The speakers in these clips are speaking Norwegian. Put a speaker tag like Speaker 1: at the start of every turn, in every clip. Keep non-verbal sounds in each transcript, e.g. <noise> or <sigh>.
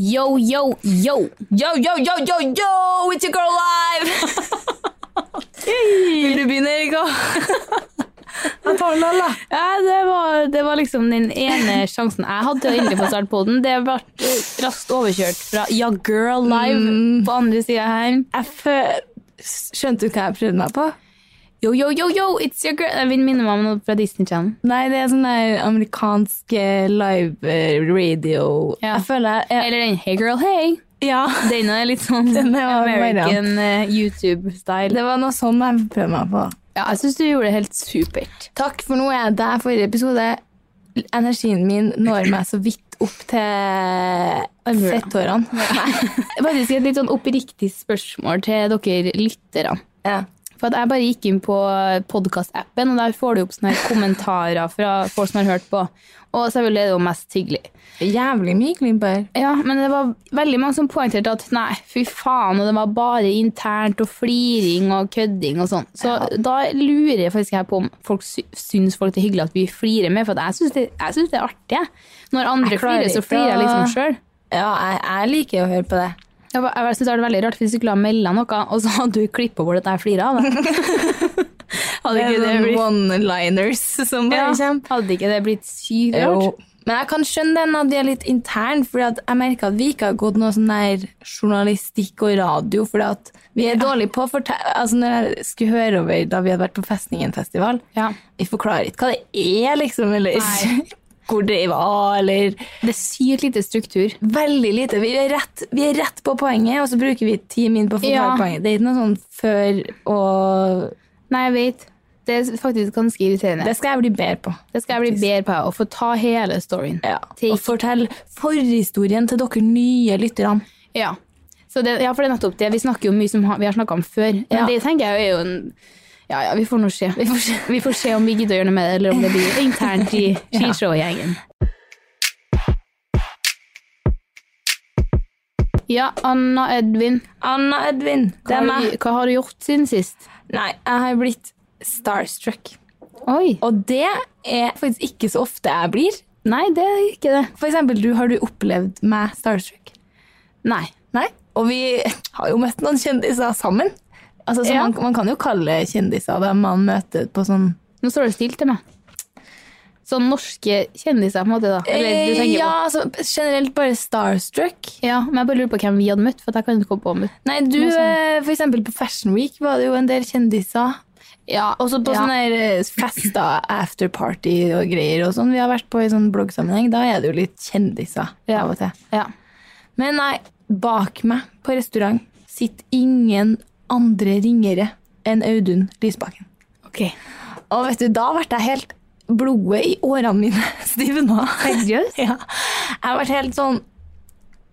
Speaker 1: Yo, yo, yo. Yo, yo, yo, yo, yo! It's your girl <laughs> live!
Speaker 2: Vil du begynne, Erika?
Speaker 1: <laughs> Jeg tar den alle.
Speaker 2: Ja, det var, det var liksom den ene sjansen jeg hadde til å egentlig få starte på den. Det ble raskt overkjørt fra Ja, girl live
Speaker 1: Mm.
Speaker 2: på andre sida her.
Speaker 1: Jeg fø- Skjønte du hva jeg prøvde meg på?
Speaker 2: Yo, yo, yo, yo, it's your girl. Jeg vil minne meg om noe fra Disney Channel.
Speaker 1: Nei, det er sånn der amerikansk eh, live eh, radio
Speaker 2: Ja.
Speaker 1: Jeg føler jeg,
Speaker 2: Eller den Hey girl, hey.
Speaker 1: Ja. <laughs>
Speaker 2: Den er litt sånn
Speaker 1: Den er jo en
Speaker 2: American eh, YouTube-style.
Speaker 1: Det var noe sånn jeg prøvde meg på.
Speaker 2: Ja, jeg syns du gjorde det helt supert.
Speaker 1: Takk, for nå er jeg der forrige episode. Energien min når meg så vidt opp til
Speaker 2: Albuer.
Speaker 1: fetthårene.
Speaker 2: Faktisk et litt sånn oppriktig spørsmål til dere lyttere.
Speaker 1: <laughs> Ja.
Speaker 2: For at jeg bare gikk inn på podkastappen, og der får du opp sånne her kommentarer fra folk som har hørt på. Og selvfølgelig er det jo mest hyggelig.
Speaker 1: Jævlig mye glimper.
Speaker 2: Ja, men det var veldig mange som poengterte at nei, fy faen, og det var bare internt og fliring og kødding og sånn. Så da lurer jeg faktisk her på om folk sy syns folk det er hyggelig at vi flirer med, for at jeg syns det, jeg syns det er artig. jeg. Når andre
Speaker 1: Jeg klarer
Speaker 2: flirer, så
Speaker 1: ikke
Speaker 2: flirer jeg
Speaker 1: å-
Speaker 2: liksom sjøl.
Speaker 1: Ja, jeg, jeg liker å høre på det.
Speaker 2: Jeg, var- jeg synes det var veldig rart hvis du skulle ha meldet noe, og så hadde du klippet bort at jeg flirer
Speaker 1: <laughs>
Speaker 2: av det. hadde ikke det
Speaker 1: sånn
Speaker 2: blitt,
Speaker 1: one-liners som bare
Speaker 2: ja,
Speaker 1: kommer.
Speaker 2: hadde ikke det blitt sykt
Speaker 1: Jo.
Speaker 2: rart?
Speaker 1: Men jeg kan skjønne den at de er litt intern, for jeg merker at vi ikke har gått noe sånn der journalistikk og radio, for at vi er dårlige på å fortelle Altså, når jeg skulle høre over da vi hadde vært på Festningenfestival
Speaker 2: Ja.
Speaker 1: Vi forklarer ikke hva det er, liksom, eller
Speaker 2: Nei.
Speaker 1: <laughs> hvor det var, eller
Speaker 2: Det er sykt lite struktur.
Speaker 1: Veldig lite. Vi er, rett, vi er rett på poenget, og så bruker vi ti min på å forklare
Speaker 2: Ja.
Speaker 1: poenget. Det er ikke noe sånn før og
Speaker 2: Nei, jeg vet. Det er faktisk ganske irriterende.
Speaker 1: Det skal jeg bli bedre på.
Speaker 2: Det skal jeg bli bedre på, å få ta hele storyen.
Speaker 1: Ja.
Speaker 2: Take-
Speaker 1: Og fortell forhistorien til dere nye lytterne.
Speaker 2: Ja. Så det, ja, for det er nettopp det. Vi snakker jo mye som ha- vi har snakket om før. Men
Speaker 1: Ja.
Speaker 2: det tenker jeg jo er jo en Ja, ja, vi får nå se. Vi får se, vi får se om vi gidder å gjøre noe med det, eller om det blir internt
Speaker 1: <laughs>
Speaker 2: i skishow-gjengen. Ja, Anna Edvin,
Speaker 1: Anna Edvin, det
Speaker 2: hva,
Speaker 1: er
Speaker 2: har
Speaker 1: meg.
Speaker 2: du, hva har du gjort siden sist?
Speaker 1: Nei, jeg har blitt starstruck.
Speaker 2: Oi!
Speaker 1: Og det er faktisk ikke så ofte jeg blir.
Speaker 2: Nei, det er ikke det.
Speaker 1: For eksempel, du, har du opplevd meg starstruck?
Speaker 2: Nei.
Speaker 1: Nei. Og vi har jo møtt noen kjendiser sammen. Altså, så
Speaker 2: Ja.
Speaker 1: man, man kan jo kalle kjendiser dem man møter på sånn
Speaker 2: Nå står det stille til meg. Sånn norske kjendiser, på en måte, da. Eller du tenker
Speaker 1: Ja,
Speaker 2: på
Speaker 1: altså, generelt bare starstruck.
Speaker 2: Ja, men jeg bare lurer på hvem vi hadde møtt, for at jeg kan ikke komme på møtt.
Speaker 1: Nei, du,
Speaker 2: Noe sånn.
Speaker 1: eh, for eksempel på Fashion Week var det jo en del kjendiser.
Speaker 2: Ja,
Speaker 1: Også på
Speaker 2: Ja.
Speaker 1: sånne her, eh, fester, afterparty og greier og sånn. Vi har vært på i sånn bloggsammenheng. Da er det jo litt kjendiser
Speaker 2: Ja.
Speaker 1: av og til.
Speaker 2: ja.
Speaker 1: Men nei, bak meg på restaurant sitter ingen andre ringere enn Audun Lysbakken.
Speaker 2: Ok.
Speaker 1: Og vet du, da ble jeg helt blodet i årene mine <laughs> stivna.
Speaker 2: Seriøst?
Speaker 1: <laughs> ja. Jeg ble helt sånn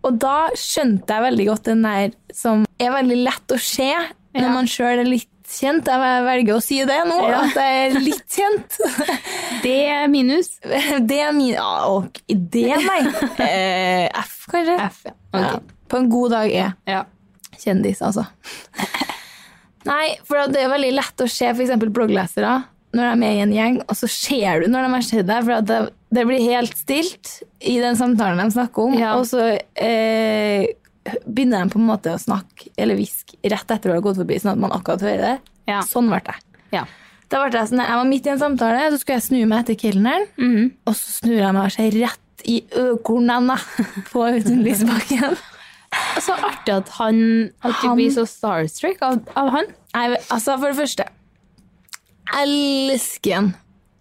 Speaker 1: Og da skjønte jeg veldig godt den der som er veldig lett å se når
Speaker 2: Ja.
Speaker 1: man sjøl er litt litt kjent. Jeg velger å si det nå,
Speaker 2: Ja.
Speaker 1: at jeg er litt kjent.
Speaker 2: <laughs> Det
Speaker 1: Eh,
Speaker 2: er minus.
Speaker 1: <laughs> Det er min ja, og Det, nei.
Speaker 2: <laughs>
Speaker 1: Eh, F, kanskje?
Speaker 2: F, ja.
Speaker 1: Ja. På en god dag er
Speaker 2: Ja.
Speaker 1: kjendis, altså. <laughs> Nei, for det er veldig lett å se f.eks. blogglesere når de er i en gjeng, og så ser du når de har sett deg, for at det, det blir helt stilt i den samtalen de snakker om,
Speaker 2: Ja.
Speaker 1: og så eh, begynner de på en måte å snakke eller hviske rett etter å ha gått forbi, sånn at man akkurat hører det.
Speaker 2: Ja.
Speaker 1: Sånn ble det.
Speaker 2: Ja.
Speaker 1: Da ble jeg sånn, jeg var midt i en samtale, så skulle jeg snu meg etter kelneren, og så snur jeg meg og ser rett i økornene på Audun Lysbakken.
Speaker 2: Så artig at han At du
Speaker 1: Han-
Speaker 2: blir så starstruck av, av han.
Speaker 1: Nei, altså for det første Elsker han.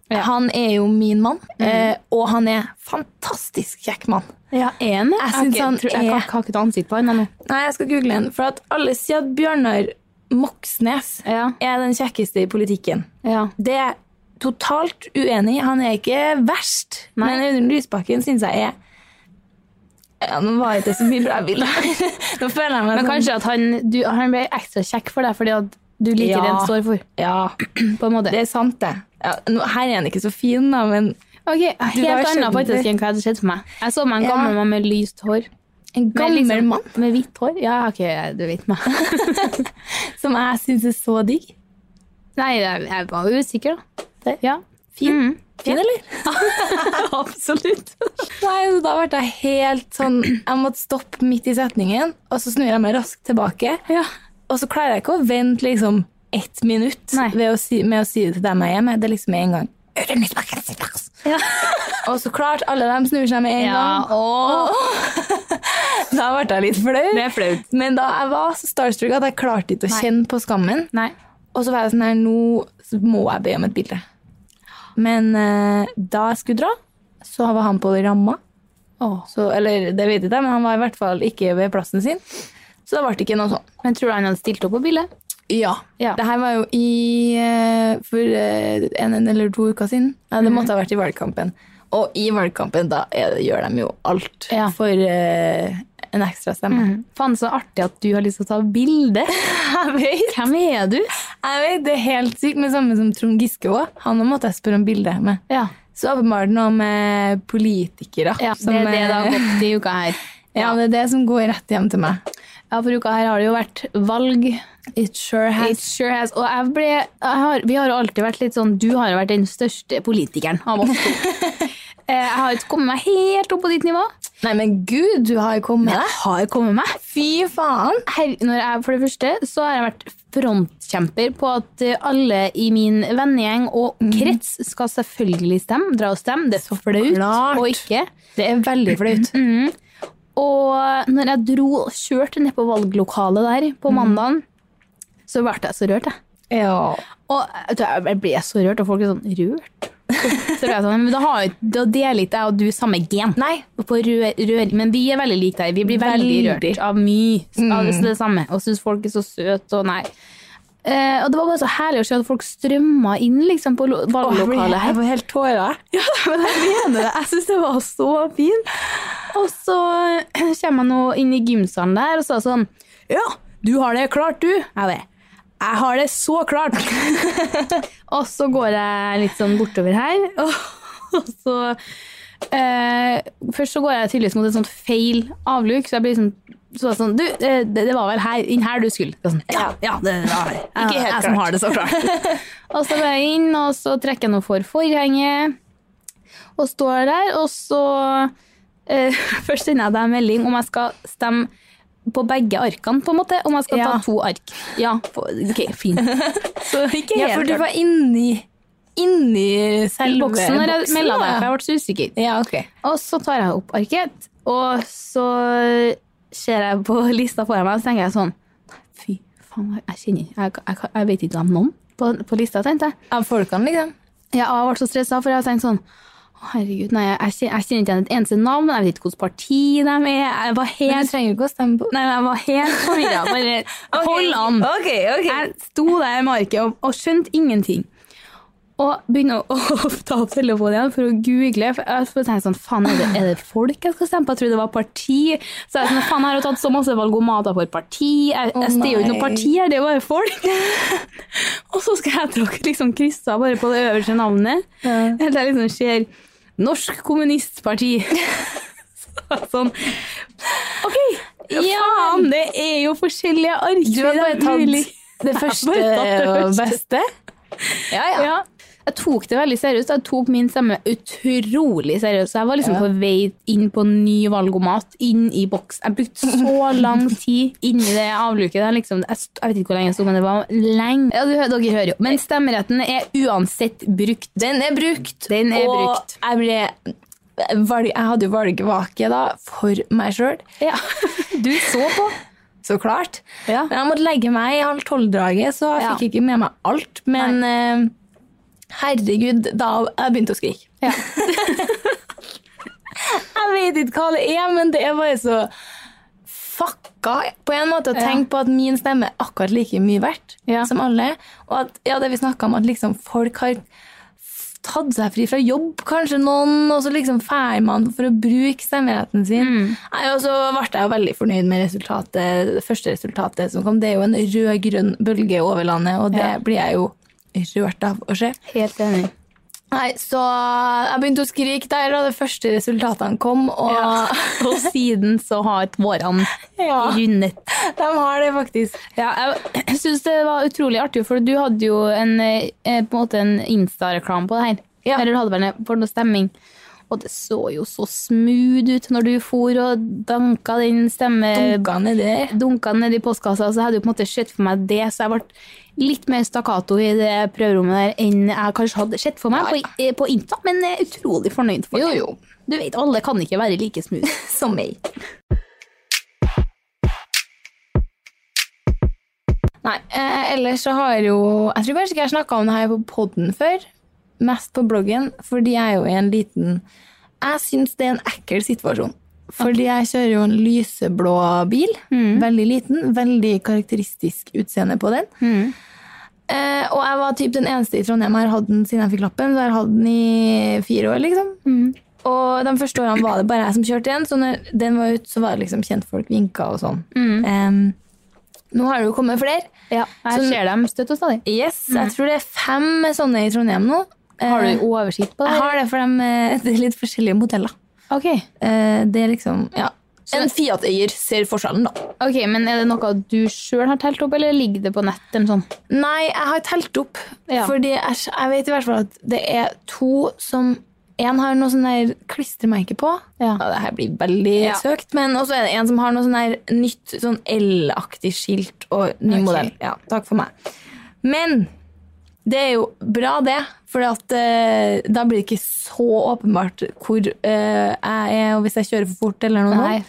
Speaker 2: Ja. Mm.
Speaker 1: Han er jo min mann, eh, og han er fantastisk kjekk mann.
Speaker 2: Ja, er han det?
Speaker 1: Jeg
Speaker 2: Jeg,
Speaker 1: synes
Speaker 2: jeg,
Speaker 1: han
Speaker 2: tror- jeg
Speaker 1: er-
Speaker 2: kan ikke ha et ansikt på han ennå.
Speaker 1: Nei, jeg skal google han, for at alle sier at Bjørnar Moxnes
Speaker 2: Ja.
Speaker 1: er den kjekkeste i politikken.
Speaker 2: Ja.
Speaker 1: Det er jeg totalt uenig i. Han er ikke verst,
Speaker 2: Nei.
Speaker 1: men Audun Lysbakken syns jeg er ja, Nå var jeg ikke så mye bra bilder.
Speaker 2: <laughs>
Speaker 1: Nå føler jeg meg
Speaker 2: Men
Speaker 1: sånn-
Speaker 2: kanskje at han, du, han ble ekstra kjekk for deg fordi at du liker
Speaker 1: Ja.
Speaker 2: det han står for.
Speaker 1: Ja,
Speaker 2: På en måte.
Speaker 1: det er sant, det. Ja, nå- her er han ikke så fin, da, men
Speaker 2: Ok,
Speaker 1: var
Speaker 2: Helt annet
Speaker 1: skjønner.
Speaker 2: faktisk enn hva jeg hadde sett for meg. Jeg så meg en
Speaker 1: Ja.
Speaker 2: gammel mann med lyst hår.
Speaker 1: en
Speaker 2: Med
Speaker 1: gammel
Speaker 2: liksom-
Speaker 1: mann.
Speaker 2: Med hvitt hår. Ja, ok, du vet meg.
Speaker 1: Som jeg syns er så digg.
Speaker 2: Nei, jeg, jeg var usikker, da.
Speaker 1: Det-
Speaker 2: <laughs> Ja.
Speaker 1: Fin.
Speaker 2: Mm.
Speaker 1: Fin, eller? Absolutt. Nei, så da ble jeg helt sånn Jeg måtte stoppe midt i setningen, og så snur jeg meg raskt tilbake. Og så klarer jeg ikke å vente liksom ett minutt
Speaker 2: Nei.
Speaker 1: ved å si, med å si det til dem jeg er med. Det er liksom med en gang. Audun Lysbakken sin plass! Og så klart, alle dem snur seg med en
Speaker 2: <laughs> Ja,
Speaker 1: gang. Da ble jeg litt flau.
Speaker 2: Det er flaut.
Speaker 1: Men da jeg var så starstruck at jeg klarte ikke å
Speaker 2: Nei.
Speaker 1: kjenne på skammen.
Speaker 2: Nei.
Speaker 1: Og så var jeg sånn her, nå må jeg be om et bilde. Men eh, da jeg skulle dra, så var han på ramma. Så, eller det vet jeg ikke, men han var i hvert fall ikke ved plassen sin. Så da ble det ikke noe sånn.
Speaker 2: Men tror du han hadde stilt opp på bildet?
Speaker 1: Ja.
Speaker 2: Ja.
Speaker 1: Det her var jo i eh, for eh, en, en eller to uker siden. Ja, det måtte ha vært i valgkampen. Og i valgkampen da er det, gjør de jo alt
Speaker 2: Ja. Mhm.
Speaker 1: for eh, en ekstra stemme.
Speaker 2: Faen, så artig at du har lyst til å ta <laughs> bilde.
Speaker 1: Jeg vet.
Speaker 2: Hvem er du?
Speaker 1: Jeg vet, Det er helt sykt, men samme som Trond Giske òg. Han måtte jeg spørre om bilde med.
Speaker 2: Ja.
Speaker 1: Så åpenbart noe med eh, politikere.
Speaker 2: ja
Speaker 1: som,
Speaker 2: det er det det har
Speaker 1: eh,
Speaker 2: gått i uka her.
Speaker 1: <laughs> Ja, det er det som går rett hjem til meg.
Speaker 2: Ja, for uka her har det jo vært valg.
Speaker 1: It sure
Speaker 2: It sure has. Og jeg ble, jeg har, vi har jo alltid vært litt sånn Du har jo vært den største politikeren av oss to. <laughs> Eh, Jeg har ikke kommet meg helt opp på ditt nivå.
Speaker 1: Nei, men gud, du har jo kommet
Speaker 2: Jeg har kommet meg.
Speaker 1: Fy faen!
Speaker 2: Her, når jeg, for det første så har jeg vært frontkjemper på at eh, alle i min vennegjeng og krets skal selvfølgelig stemme. Dra og stemme. Det er så flaut
Speaker 1: klart.
Speaker 2: og ikke.
Speaker 1: Det er veldig flaut.
Speaker 2: Og når jeg dro og kjørte ned på valglokalet der på mandagen, så ble jeg så rørt, jeg.
Speaker 1: Ja.
Speaker 2: Og vet du, jeg ble så rørt, og folk er sånn rørt. Så ble jeg sånn, men da, har, jo- da deler ikke jeg og du samme gen.
Speaker 1: Nei.
Speaker 2: På rør, rør, men vi er veldig like deg. Vi blir veldig,
Speaker 1: Veldig. Mm.
Speaker 2: rørt av mye. Av det, det samme. Og syns folk er så søte og nei. Eh, og det var bare så herlig å se at folk strømma inn liksom, på lo- valglokalet her.
Speaker 1: Jeg får helt tårer. <laughs> Ja, men jeg mener det. Jeg syns det var så fint.
Speaker 2: Og så <clears throat> kommer jeg nå inn i gymsalen der og sa sånn Ja, du har det klart, du. Jeg det. Jeg har det så klart. og så går jeg litt sånn bortover her, <laughs> og, og så eh, Først så går jeg tydeligvis mot et sånt feil avluk, så jeg blir sånn så var jeg sånn, du, eh, det, det var vel her, inn her du skulle. Og Sånn, ja, ja, det var her. Jeg,
Speaker 1: Ikke helt
Speaker 2: jeg som
Speaker 1: klart.
Speaker 2: har det så klart. og så går jeg inn, og så trekker jeg noe for forhenget og står der, og så eh, <laughs> Først sender jeg deg en melding om jeg skal stemme på begge arkene, på en måte. Om jeg skal
Speaker 1: Ja.
Speaker 2: ta to ark. Ja, på, ok, fint. Så ikke
Speaker 1: Ja,
Speaker 2: helt
Speaker 1: for du
Speaker 2: klart.
Speaker 1: var inni Inni selve
Speaker 2: boksen når jeg
Speaker 1: boksen,
Speaker 2: melda meg,
Speaker 1: da.
Speaker 2: for jeg ble så usikker.
Speaker 1: Ja, ok.
Speaker 2: Og så tar jeg opp arket, og så ser jeg på <laughs> lista foran meg, og så tenker jeg sånn Fy faen, jeg- jeg kjenner Jeg, jeg, jeg, jeg vet ikke om noen på, på lista, tenkte jeg.
Speaker 1: Av folkene, liksom.
Speaker 2: Ja, og jeg ble så stressa, for jeg tenkte sånn «Å, Herregud, nei, jeg, kjen- jeg kjenner ikke igjen et eneste navn. Jeg vet ikke hvilket parti de er. Jeg var
Speaker 1: Jeg
Speaker 2: helt,
Speaker 1: trenger jo ikke å stemme på
Speaker 2: nei, men jeg var helt forvirra. <laughs> Bare hold an.
Speaker 1: Ok, ok.
Speaker 2: <laughs> Jeg sto der i markedet og, og skjønte ingenting. Og begynner å <laughs> å ta opp telefonen igjen for å google. For jeg for tenkte sånn, faen, er det, er det folk jeg skal stemme på? Jeg trodde det var parti. Så jeg sånn, faen, jeg har jo tatt så masse valgomater for parti. Jeg, jeg stiller jo ikke noe
Speaker 1: nei.
Speaker 2: parti her, det er bare folk. <laughs> og så skal jeg tråkke liksom kryssa bare på det øverste navnet. Helt til jeg liksom ser Norsk Kommunistparti. <laughs> så sånn, ok, faen, det er jo forskjellige ark.
Speaker 1: Du
Speaker 2: det
Speaker 1: har
Speaker 2: er
Speaker 1: bare tatt <laughs>
Speaker 2: mulig.
Speaker 1: det første
Speaker 2: Jeg har bare tatt det
Speaker 1: og
Speaker 2: første.
Speaker 1: beste. Ja, ja.
Speaker 2: Ja. Jeg tok det veldig seriøst. Jeg tok min stemme utrolig seriøst. Så jeg var liksom på vei inn på ny valgomat, inn i boks. Jeg brukte så <laughs> lang tid inni det avluket. Der, liksom. jeg, st- jeg vet ikke hvor lenge jeg sto, men det var lenge. Ja, du, hø- dere hører jo. Men stemmeretten er uansett brukt.
Speaker 1: Den er brukt.
Speaker 2: Den er
Speaker 1: og
Speaker 2: brukt.
Speaker 1: Jeg, ble, valg, jeg hadde jo valgvake da, for meg sjøl.
Speaker 2: Ja.
Speaker 1: Du så på. Så klart.
Speaker 2: Ja.
Speaker 1: Men jeg måtte legge meg i halv tolv-draget, så jeg
Speaker 2: Ja.
Speaker 1: fikk ikke med meg alt. Men eh, herregud, da jeg begynte å skrike.
Speaker 2: Ja.
Speaker 1: jeg vet ikke hva det er, men det er bare så fucka på en måte å
Speaker 2: Ja.
Speaker 1: tenke på at min stemme er akkurat like mye verdt
Speaker 2: Ja.
Speaker 1: som alle. Og at ja, det vi snakka om, at liksom folk har f- tatt seg fri fra jobb, kanskje noen, og så liksom drar man for å bruke stemmeretten sin.
Speaker 2: Mm.
Speaker 1: Nei, og så ble jeg jo veldig fornøyd med resultatet, det første resultatet som kom. Det er jo en rød-grønn bølge over landet, og det
Speaker 2: Ja.
Speaker 1: blir jeg jo rørt av å se.
Speaker 2: Helt enig.
Speaker 1: Nei, så jeg begynte å skrike der da de første resultatene kom, og <laughs>
Speaker 2: Ja. Og siden så har tårene
Speaker 1: Ja.
Speaker 2: rundet.
Speaker 1: de har det faktisk.
Speaker 2: Ja, jeg <clears throat> syns det var utrolig artig, for du hadde jo en, eh, på en måte en Insta-reklame på det her.
Speaker 1: Ja.
Speaker 2: Eller du hadde vel en- for noe stemming. Og det så jo så smooth ut når du for og danka den stemme...
Speaker 1: Dunka ned der.
Speaker 2: Dunka ned i postkassa, så jeg hadde jo på en måte sett for meg det, så jeg ble litt mer stakkato i det prøverommet der enn jeg kanskje hadde sett for meg På, eh, på Insta, men jeg er utrolig fornøyd for det.
Speaker 1: jo.
Speaker 2: Du vet, alle kan ikke være like smooth.
Speaker 1: <laughs> Som meg. Nei, eh, ellers så har jo Jeg tror kanskje ikke jeg snakka om det her på podden før. Mest på bloggen, fordi jeg er jo i en liten Jeg syns det er en ekkel situasjon. Fordi jeg kjører jo en lyseblå bil. Veldig liten. Veldig karakteristisk utseende på den. Eh, og jeg var typ den eneste i Trondheim her hadde den siden jeg fikk lappen. Så jeg har hatt den i fire år, liksom. Og de første årene var det bare jeg som kjørte igjen, så når den var ut, så var det liksom kjentfolk vinka og sånn. Em, nå har det jo kommet flere.
Speaker 2: Ja, jeg
Speaker 1: Så-
Speaker 2: ser dem støtt og stadig.
Speaker 1: Yes, jeg tror det er fem sånne i Trondheim nå.
Speaker 2: Mm. Har
Speaker 1: Eh,
Speaker 2: du oversikt på det?
Speaker 1: Jeg har det, for de, eh, <laughs> det er litt forskjellige modeller.
Speaker 2: Ok.
Speaker 1: Eh, det er liksom, ja. en Fiat-eier ser forskjellen, da.
Speaker 2: Ok, men Er det noe du sjøl har telt opp, eller ligger det på nett? Eller sånn?
Speaker 1: Nei, jeg har telt opp.
Speaker 2: Ja.
Speaker 1: Fordi jeg, jeg vet i hvert fall at det er to som En har noe sånn der klistremerke på.
Speaker 2: Ja.
Speaker 1: det her blir veldig
Speaker 2: Ja.
Speaker 1: søkt. Men også er det en som har noe sånn der nytt sånn L-aktig skilt og ny
Speaker 2: Ok.
Speaker 1: modell. Ja, takk for meg. Men det er jo bra, det. For at, eh, da blir det ikke så åpenbart hvor eh, jeg er, og hvis jeg kjører for fort. eller noe
Speaker 2: Nei.
Speaker 1: sånt.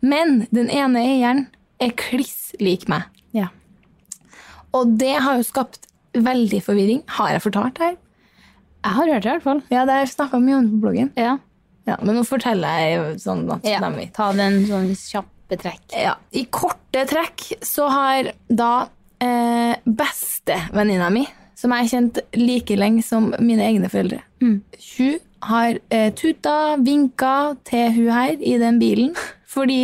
Speaker 1: Men den ene eieren er kliss lik meg.
Speaker 2: Ja.
Speaker 1: Og det har jo skapt veldig forvirring. Har jeg fortalt det her?
Speaker 2: Jeg har hørt det, i hvert fall.
Speaker 1: Ja, det har jeg snakka mye om på bloggen.
Speaker 2: Ja.
Speaker 1: Ja, Men nå forteller jeg sånn at de vet.
Speaker 2: Ta den sånn kjappe trekk.
Speaker 1: Ja, I korte trekk så har da eh, bestevenninna mi, som jeg har kjent like lenge som mine egne foreldre Hun har eh, tuta, vinka til hun her i den bilen fordi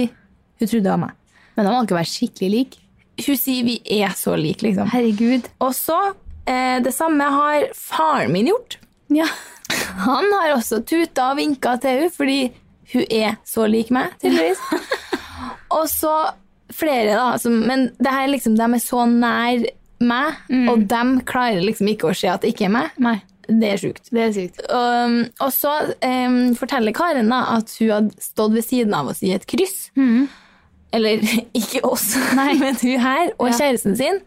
Speaker 1: hun trodde det var meg.
Speaker 2: Men da må dere være skikkelig like.
Speaker 1: Hun sier vi er så like, liksom.
Speaker 2: Herregud.
Speaker 1: Og så, eh, det samme har faren min gjort.
Speaker 2: Ja.
Speaker 1: Han har også tuta og vinka til henne, fordi hun er så lik meg, tydeligvis. og så flere, da. Som, men det her liksom, de er så nær meg, og de klarer liksom ikke å se at det ikke er meg.
Speaker 2: Nei,
Speaker 1: Det er sjukt.
Speaker 2: det er sykt.
Speaker 1: Um, og så um, forteller Karen da at hun hadde stått ved siden av oss i et kryss.
Speaker 2: Mm.
Speaker 1: Eller <laughs> ikke oss, men hun her og
Speaker 2: Ja.
Speaker 1: kjæresten sin.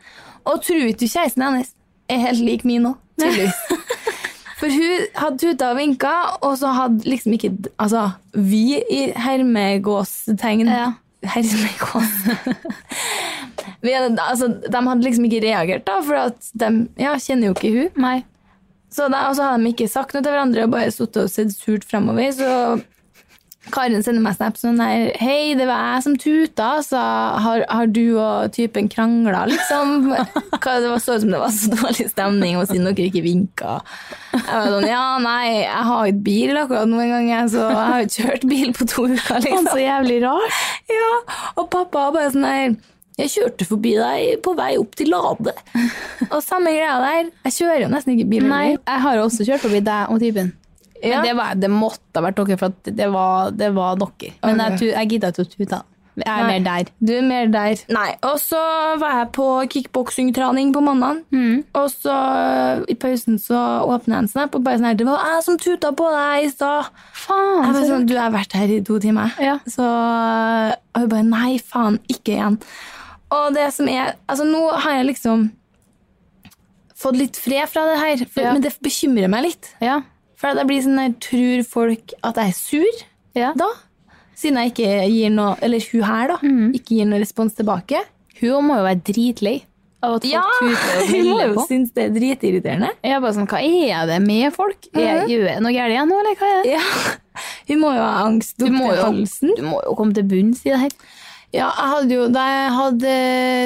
Speaker 1: Og tror ikke kjæresten hennes er helt lik min
Speaker 2: <laughs>
Speaker 1: nå, tydeligvis. For hun hadde tuta og vinka, og så hadde liksom ikke Altså, vi i hermegåstegn
Speaker 2: Ja.
Speaker 1: <laughs> Hermegås
Speaker 2: <laughs>
Speaker 1: vi hadde, altså, De hadde liksom ikke reagert, da, for at de ja, kjenner jo ikke hun.
Speaker 2: Nei.
Speaker 1: Så da, og så hadde de ikke sagt noe til hverandre og bare sittet og sett surt fremover. Så Karin sender meg snap sånn her Hei, det var jeg som tuta, så har, har du og typen krangla, liksom? <laughs> Hva, det var så ut som det var så dårlig stemning, og siden dere ikke vinka. Jeg var sånn Ja, nei, jeg har ikke bil akkurat nå engang, jeg, så jeg har ikke kjørt bil på to uker, liksom.
Speaker 2: Så jævlig rart.
Speaker 1: Ja, og pappa var bare sånn her Jeg kjørte forbi deg på vei opp til Lade. og samme greia der. Jeg kjører jo nesten ikke bil
Speaker 2: Nei,
Speaker 1: lenger.
Speaker 2: jeg har jo også kjørt forbi deg og typen.
Speaker 1: Ja.
Speaker 2: Men det, var, det måtte ha vært dere, for at det var, det var dere. Men jeg, tu- jeg gidda ikke å tute. Jeg er
Speaker 1: Nei.
Speaker 2: mer der.
Speaker 1: Du er mer der. Nei, Og så var jeg på kickboksingtrening på mandag. Og så i pausen så åpner jeg en snap og bare sånn her Det var jeg som tuta på deg i stad.
Speaker 2: Faen,
Speaker 1: Jeg bare
Speaker 2: så
Speaker 1: sånn, du, jeg har vært her i to timer.
Speaker 2: Ja.
Speaker 1: Så og hun bare Nei, faen, ikke igjen. Og det som er Altså, nå har jeg liksom fått litt fred fra det her, for,
Speaker 2: Ja.
Speaker 1: men det bekymrer meg litt.
Speaker 2: Ja.
Speaker 1: For at jeg blir sånn der, Tror folk at jeg er sur
Speaker 2: Ja.
Speaker 1: da? Siden jeg ikke gir noe Eller hun her, da. Ikke gir noe respons tilbake.
Speaker 2: Hun må jo være dritlei av at folk tuter
Speaker 1: <laughs>
Speaker 2: og
Speaker 1: Hun må
Speaker 2: melder
Speaker 1: jo
Speaker 2: på.
Speaker 1: synes det er dritirriterende.
Speaker 2: Jeg er bare sånn, Hva er det med folk? Er, gjør jeg noe galt igjen nå, eller hva er det?
Speaker 1: <laughs> Ja. Hun må jo ha angst
Speaker 2: Du må,
Speaker 1: oppi halsen.
Speaker 2: jo, du må jo komme til bunns i det her.
Speaker 1: Ja, jeg hadde jo, da jeg hadde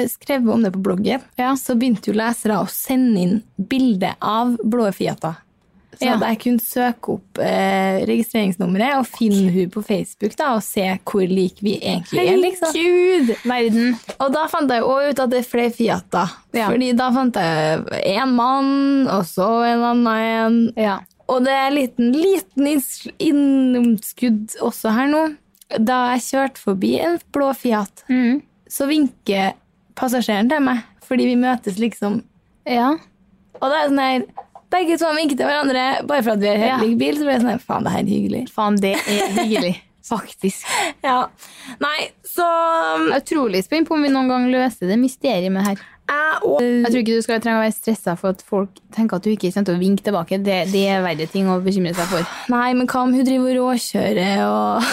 Speaker 1: skrevet om det på bloggen, så begynte jo lesere å sende inn bilde av blå Fiata. Så
Speaker 2: Ja.
Speaker 1: at jeg kunne søke opp eh, registreringsnummeret og finne hun på Facebook da, og se hvor lik vi egentlig er. liksom.
Speaker 2: Herregud! Verden.
Speaker 1: Og da fant jeg jo også ut at det er flere Fiater.
Speaker 2: Ja.
Speaker 1: Fordi da fant jeg en mann, og så en annen en.
Speaker 2: Ja.
Speaker 1: Og det er en liten, liten inns- innomskudd også her nå. Da jeg kjørte forbi en blå Fiat, så vinker passasjeren til meg, fordi vi møtes liksom.
Speaker 2: ja.
Speaker 1: Og det er sånn her, begge to vinker til hverandre, bare for at vi er helt
Speaker 2: Ja.
Speaker 1: lik bil, så blir det sånn her, faen, det her er hyggelig.
Speaker 2: Faen, det er hyggelig. <laughs> Faktisk.
Speaker 1: Ja. Nei, så um,
Speaker 2: Jeg er utrolig spent på om vi noen gang løser det mysteriet med det her.
Speaker 1: jeg og...
Speaker 2: Jeg tror ikke du skal trenge å være stressa for at folk tenker at du ikke kommer til å vinke tilbake. Det, det er verre ting å bekymre seg for.
Speaker 1: Nei, men hva om hun driver og råkjører og...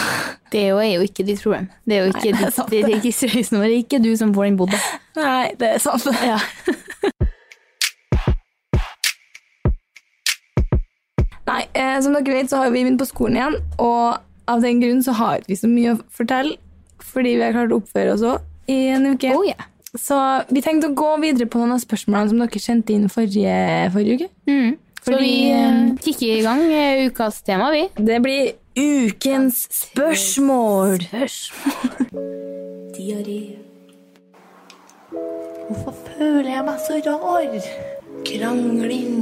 Speaker 2: Det er jo, er jo ikke ditt problem. Det er jo ikke
Speaker 1: det er
Speaker 2: ditt
Speaker 1: sant.
Speaker 2: det er ikke registreringsnummer. Det er ikke du som får den bodd.
Speaker 1: Nei, det er sant. Ja. <laughs> Nei, eh, som dere vet så har vi begynt på skolen igjen, og av den grunn så har vi ikke så mye å fortelle, fordi vi har klart å oppføre oss også i en uke.
Speaker 2: Oh, yeah.
Speaker 1: Så vi tenkte å gå videre på noen av spørsmålene som dere sendte inn forrige, forrige uke.
Speaker 2: Mm. Så vi eh, kikker i gang eh, ukas tema, vi.
Speaker 1: Det blir ukens spørsmål.
Speaker 3: Diaré. Hvorfor føler jeg meg så rar? Krangling.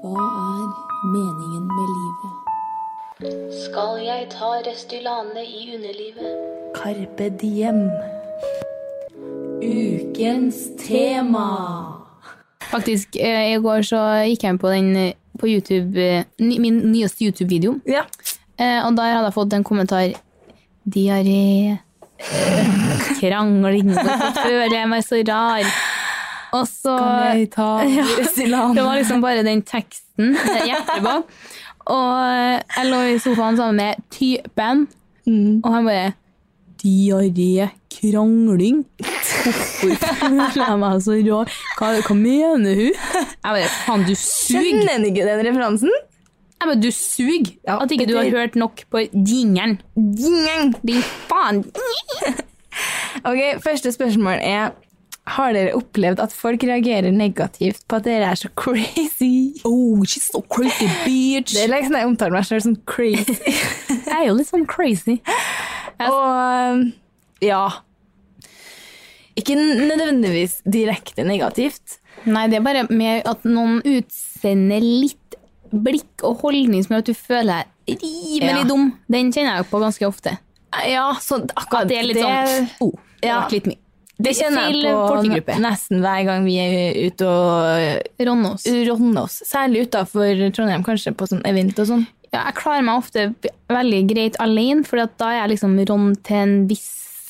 Speaker 3: Hva er meningen med livet?
Speaker 4: Skal jeg ta Restylane i underlivet?
Speaker 3: Carpe diem. Ukens tema.
Speaker 2: Faktisk, eh, i går så gikk jeg inn på den eh, på YouTube, eh, ny, min nyeste YouTube-video.
Speaker 1: Ja.
Speaker 2: Eh, og der hadde jeg fått en kommentar
Speaker 1: <laughs>
Speaker 2: Diaré eh, Krangling Hvorfor føler jeg meg så rar? Og så <laughs>
Speaker 1: Ja.
Speaker 2: Det var liksom bare den teksten det hjertet bak. Og eh, jeg lå i sofaen sammen med typen,
Speaker 1: Mm.
Speaker 2: og han bare Diaré Krangling? Hvorfor føler jeg meg så rar? Hva, hva mener hun? Jeg bare Faen, du suger!
Speaker 1: Skjønner dere ikke den referansen?
Speaker 2: Nei, men du suger!
Speaker 1: Ja,
Speaker 2: at ikke du har
Speaker 1: det-
Speaker 2: hørt nok på jingeren.
Speaker 1: Gjeng!
Speaker 2: Din faen!
Speaker 1: <laughs> Ok, Første spørsmål er Har dere opplevd at folk reagerer negativt på at dere er så crazy?
Speaker 2: Oh, she's so crazy, bitch!
Speaker 1: Det er liksom Jeg omtaler meg selv som crazy.
Speaker 2: <laughs> Jeg er jo litt sånn crazy.
Speaker 1: Og um, ja Ikke nødvendigvis direkte negativt.
Speaker 2: Nei, det er bare med at noen utsender litt blikk og holdning som gjør at du føler deg rimelig
Speaker 1: Ja.
Speaker 2: dum. Den kjenner jeg jo på ganske ofte.
Speaker 1: Ja, så akkurat
Speaker 2: At det er litt sånn oh, det
Speaker 1: ja.
Speaker 2: har vært litt mye.
Speaker 1: Det kjenner
Speaker 2: Feil
Speaker 1: jeg på
Speaker 2: folkegruppe.
Speaker 1: n- nesten hver gang vi er ute og
Speaker 2: Ronnås.
Speaker 1: rådner oss. Særlig utafor Trondheim, kanskje, på sånn event og sånn.
Speaker 2: Ja, jeg klarer meg ofte veldig greit alene, for da er jeg liksom ronn til en viss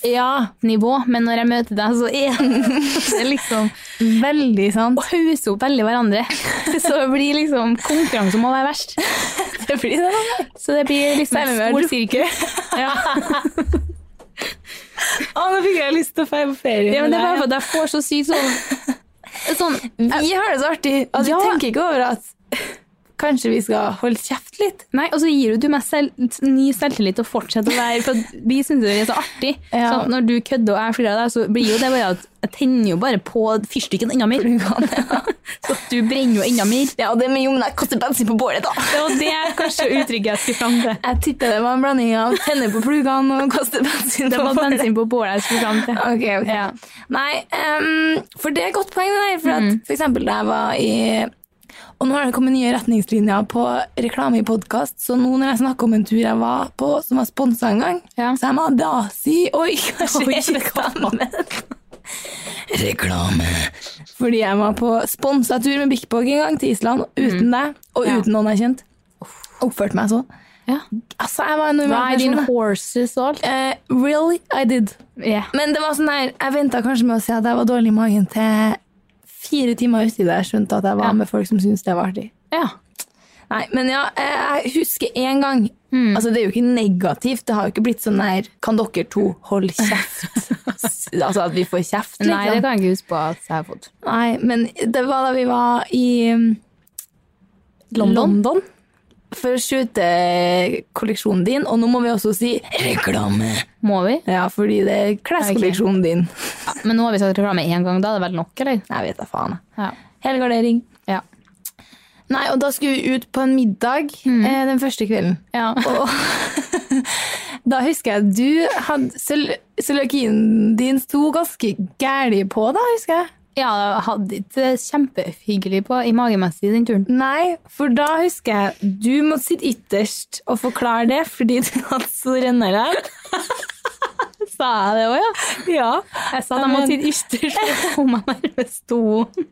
Speaker 1: Ja,
Speaker 2: nivå, men når jeg møter deg, så er det liksom
Speaker 1: veldig sant.
Speaker 2: Pause opp veldig hverandre. Så det blir liksom konkurranse om å være verst.
Speaker 1: Det blir det, da.
Speaker 2: Så det blir liksom
Speaker 1: Særlig når
Speaker 2: stor sirkel. Ja.
Speaker 1: Å, nå fikk jeg lyst til å dra på ferie.
Speaker 2: Ja, men det er bare
Speaker 1: med
Speaker 2: for
Speaker 1: deg.
Speaker 2: at jeg får så sykt sånn, sånn
Speaker 1: Vi har det så artig at
Speaker 2: Ja.
Speaker 1: vi tenker ikke over at <laughs> Kanskje vi skal holde kjeft litt?
Speaker 2: Nei, og så gir jo du meg selv, ny selvtillit og fortsetter å være For vi syns det er så artig.
Speaker 1: <laughs> Ja.
Speaker 2: Så at når du kødder og jeg flirer av deg, så blir jo det bare at jeg tenner jo bare på fyrstikken enda mer. så at du brenner jo enda mer.
Speaker 1: <laughs> Ja, det med jo, men jeg kaster bensin på bålet, da.
Speaker 2: Det var det kanskje uttrykket jeg skulle fram
Speaker 1: <laughs>
Speaker 2: til.
Speaker 1: Jeg tipper det var en blanding av tenne på plugene og kaste bensin
Speaker 2: Det
Speaker 1: på
Speaker 2: var
Speaker 1: bålet.
Speaker 2: bensin på bålet jeg skulle fram til.
Speaker 1: Ok, ok.
Speaker 2: Ja.
Speaker 1: Nei, ehm, for det er et godt poeng det der, for at
Speaker 2: Mm.
Speaker 1: for eksempel da jeg var i og nå har det kommet nye retningslinjer på reklame i podkast, så nå når jeg snakker om en tur jeg var på som var sponsa en gang,
Speaker 2: Ja.
Speaker 1: så jeg må da si Oi, <laughs> hva
Speaker 2: Oi,
Speaker 1: skjer? Reklame. reklame. Fordi jeg var på sponsa tur med Big Bog en gang til Island, uten deg og
Speaker 2: Mm. Ja.
Speaker 1: uten noen jeg kjente. Oppførte meg sånn.
Speaker 2: Ja.
Speaker 1: Altså, jeg var en normal
Speaker 2: Riding
Speaker 1: person. da.
Speaker 2: horses og alt.
Speaker 1: Eh, really, I did.
Speaker 2: Yeah.
Speaker 1: Men det var sånn der, jeg venta kanskje med å si at jeg var dårlig i magen til fire timer uti da jeg skjønte at jeg var
Speaker 2: Ja.
Speaker 1: med folk som syntes det var artig.
Speaker 2: Ja.
Speaker 1: Nei, Men ja, eh, jeg husker én gang.
Speaker 2: Hmm.
Speaker 1: Altså, Det er jo ikke negativt. Det har jo ikke blitt sånn der Kan dere to holde kjeft?
Speaker 2: <laughs>
Speaker 1: S- altså at vi får kjeft, liksom.
Speaker 2: Nei, det kan jeg ikke huske på at jeg har fått.
Speaker 1: Nei, men det var da vi var i um,
Speaker 2: London.
Speaker 1: for å skjute kolleksjonen din. Og nå må vi også si reklame!
Speaker 2: Må vi?
Speaker 1: Ja, fordi det er kleskolleksjonen din.
Speaker 2: Men nå har vi sagt reklame én gang, da er det vel nok, eller?
Speaker 1: Jeg vet da faen.
Speaker 2: Ja.
Speaker 1: Helgardering.
Speaker 2: Ja.
Speaker 1: Nei, og da skulle vi ut på en middag eh, den første kvelden.
Speaker 2: Mm. ja.
Speaker 1: <laughs> Og da husker jeg du hadde cøl- Cøliakien din sto ganske gæli på, da, husker jeg.
Speaker 2: Ja, jeg hadde ikke det kjempehyggelig på i magemessig den turen.
Speaker 1: Nei, for da husker jeg du måtte sitte ytterst og forklare det fordi du hadde så renner her.
Speaker 2: <laughs> Sa jeg det òg, ja?
Speaker 1: Ja.
Speaker 2: Jeg sa at jeg måtte sitte ytterst
Speaker 1: <laughs>
Speaker 2: for å få meg nærmest stolen.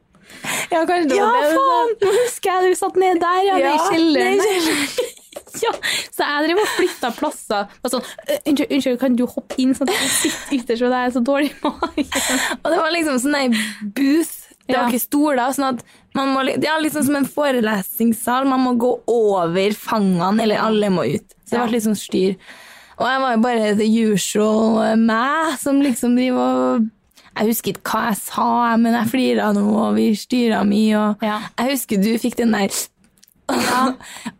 Speaker 1: ja, kanskje det
Speaker 2: Ja,
Speaker 1: var det du sa.
Speaker 2: faen! Nå husker jeg du satt nede der, ja, nede i
Speaker 1: Ja,
Speaker 2: kjelleren.
Speaker 1: nede i
Speaker 2: <laughs> Ja, så jeg drev og flytta plasser. Bare sånn, «Øh, unnskyld, unnskyld, kan du hoppe inn sånn at jeg sitter ytterst, og det er så dårlig <laughs> i magen?
Speaker 1: Og det var liksom sånn ei booth. Det
Speaker 2: Ja.
Speaker 1: var ikke stoler. Sånn at man må, li- det er liksom som en forelesningssal. Man må gå over fangene, eller alle må ut. Så det
Speaker 2: Ja.
Speaker 1: ble litt sånn styr. Og jeg var jo bare the usual eh, meg, som liksom driver og Jeg husker ikke hva jeg sa, men jeg flira nå, og vi styra mye, og
Speaker 2: Ja.
Speaker 1: Jeg husker du fikk den der <laughs>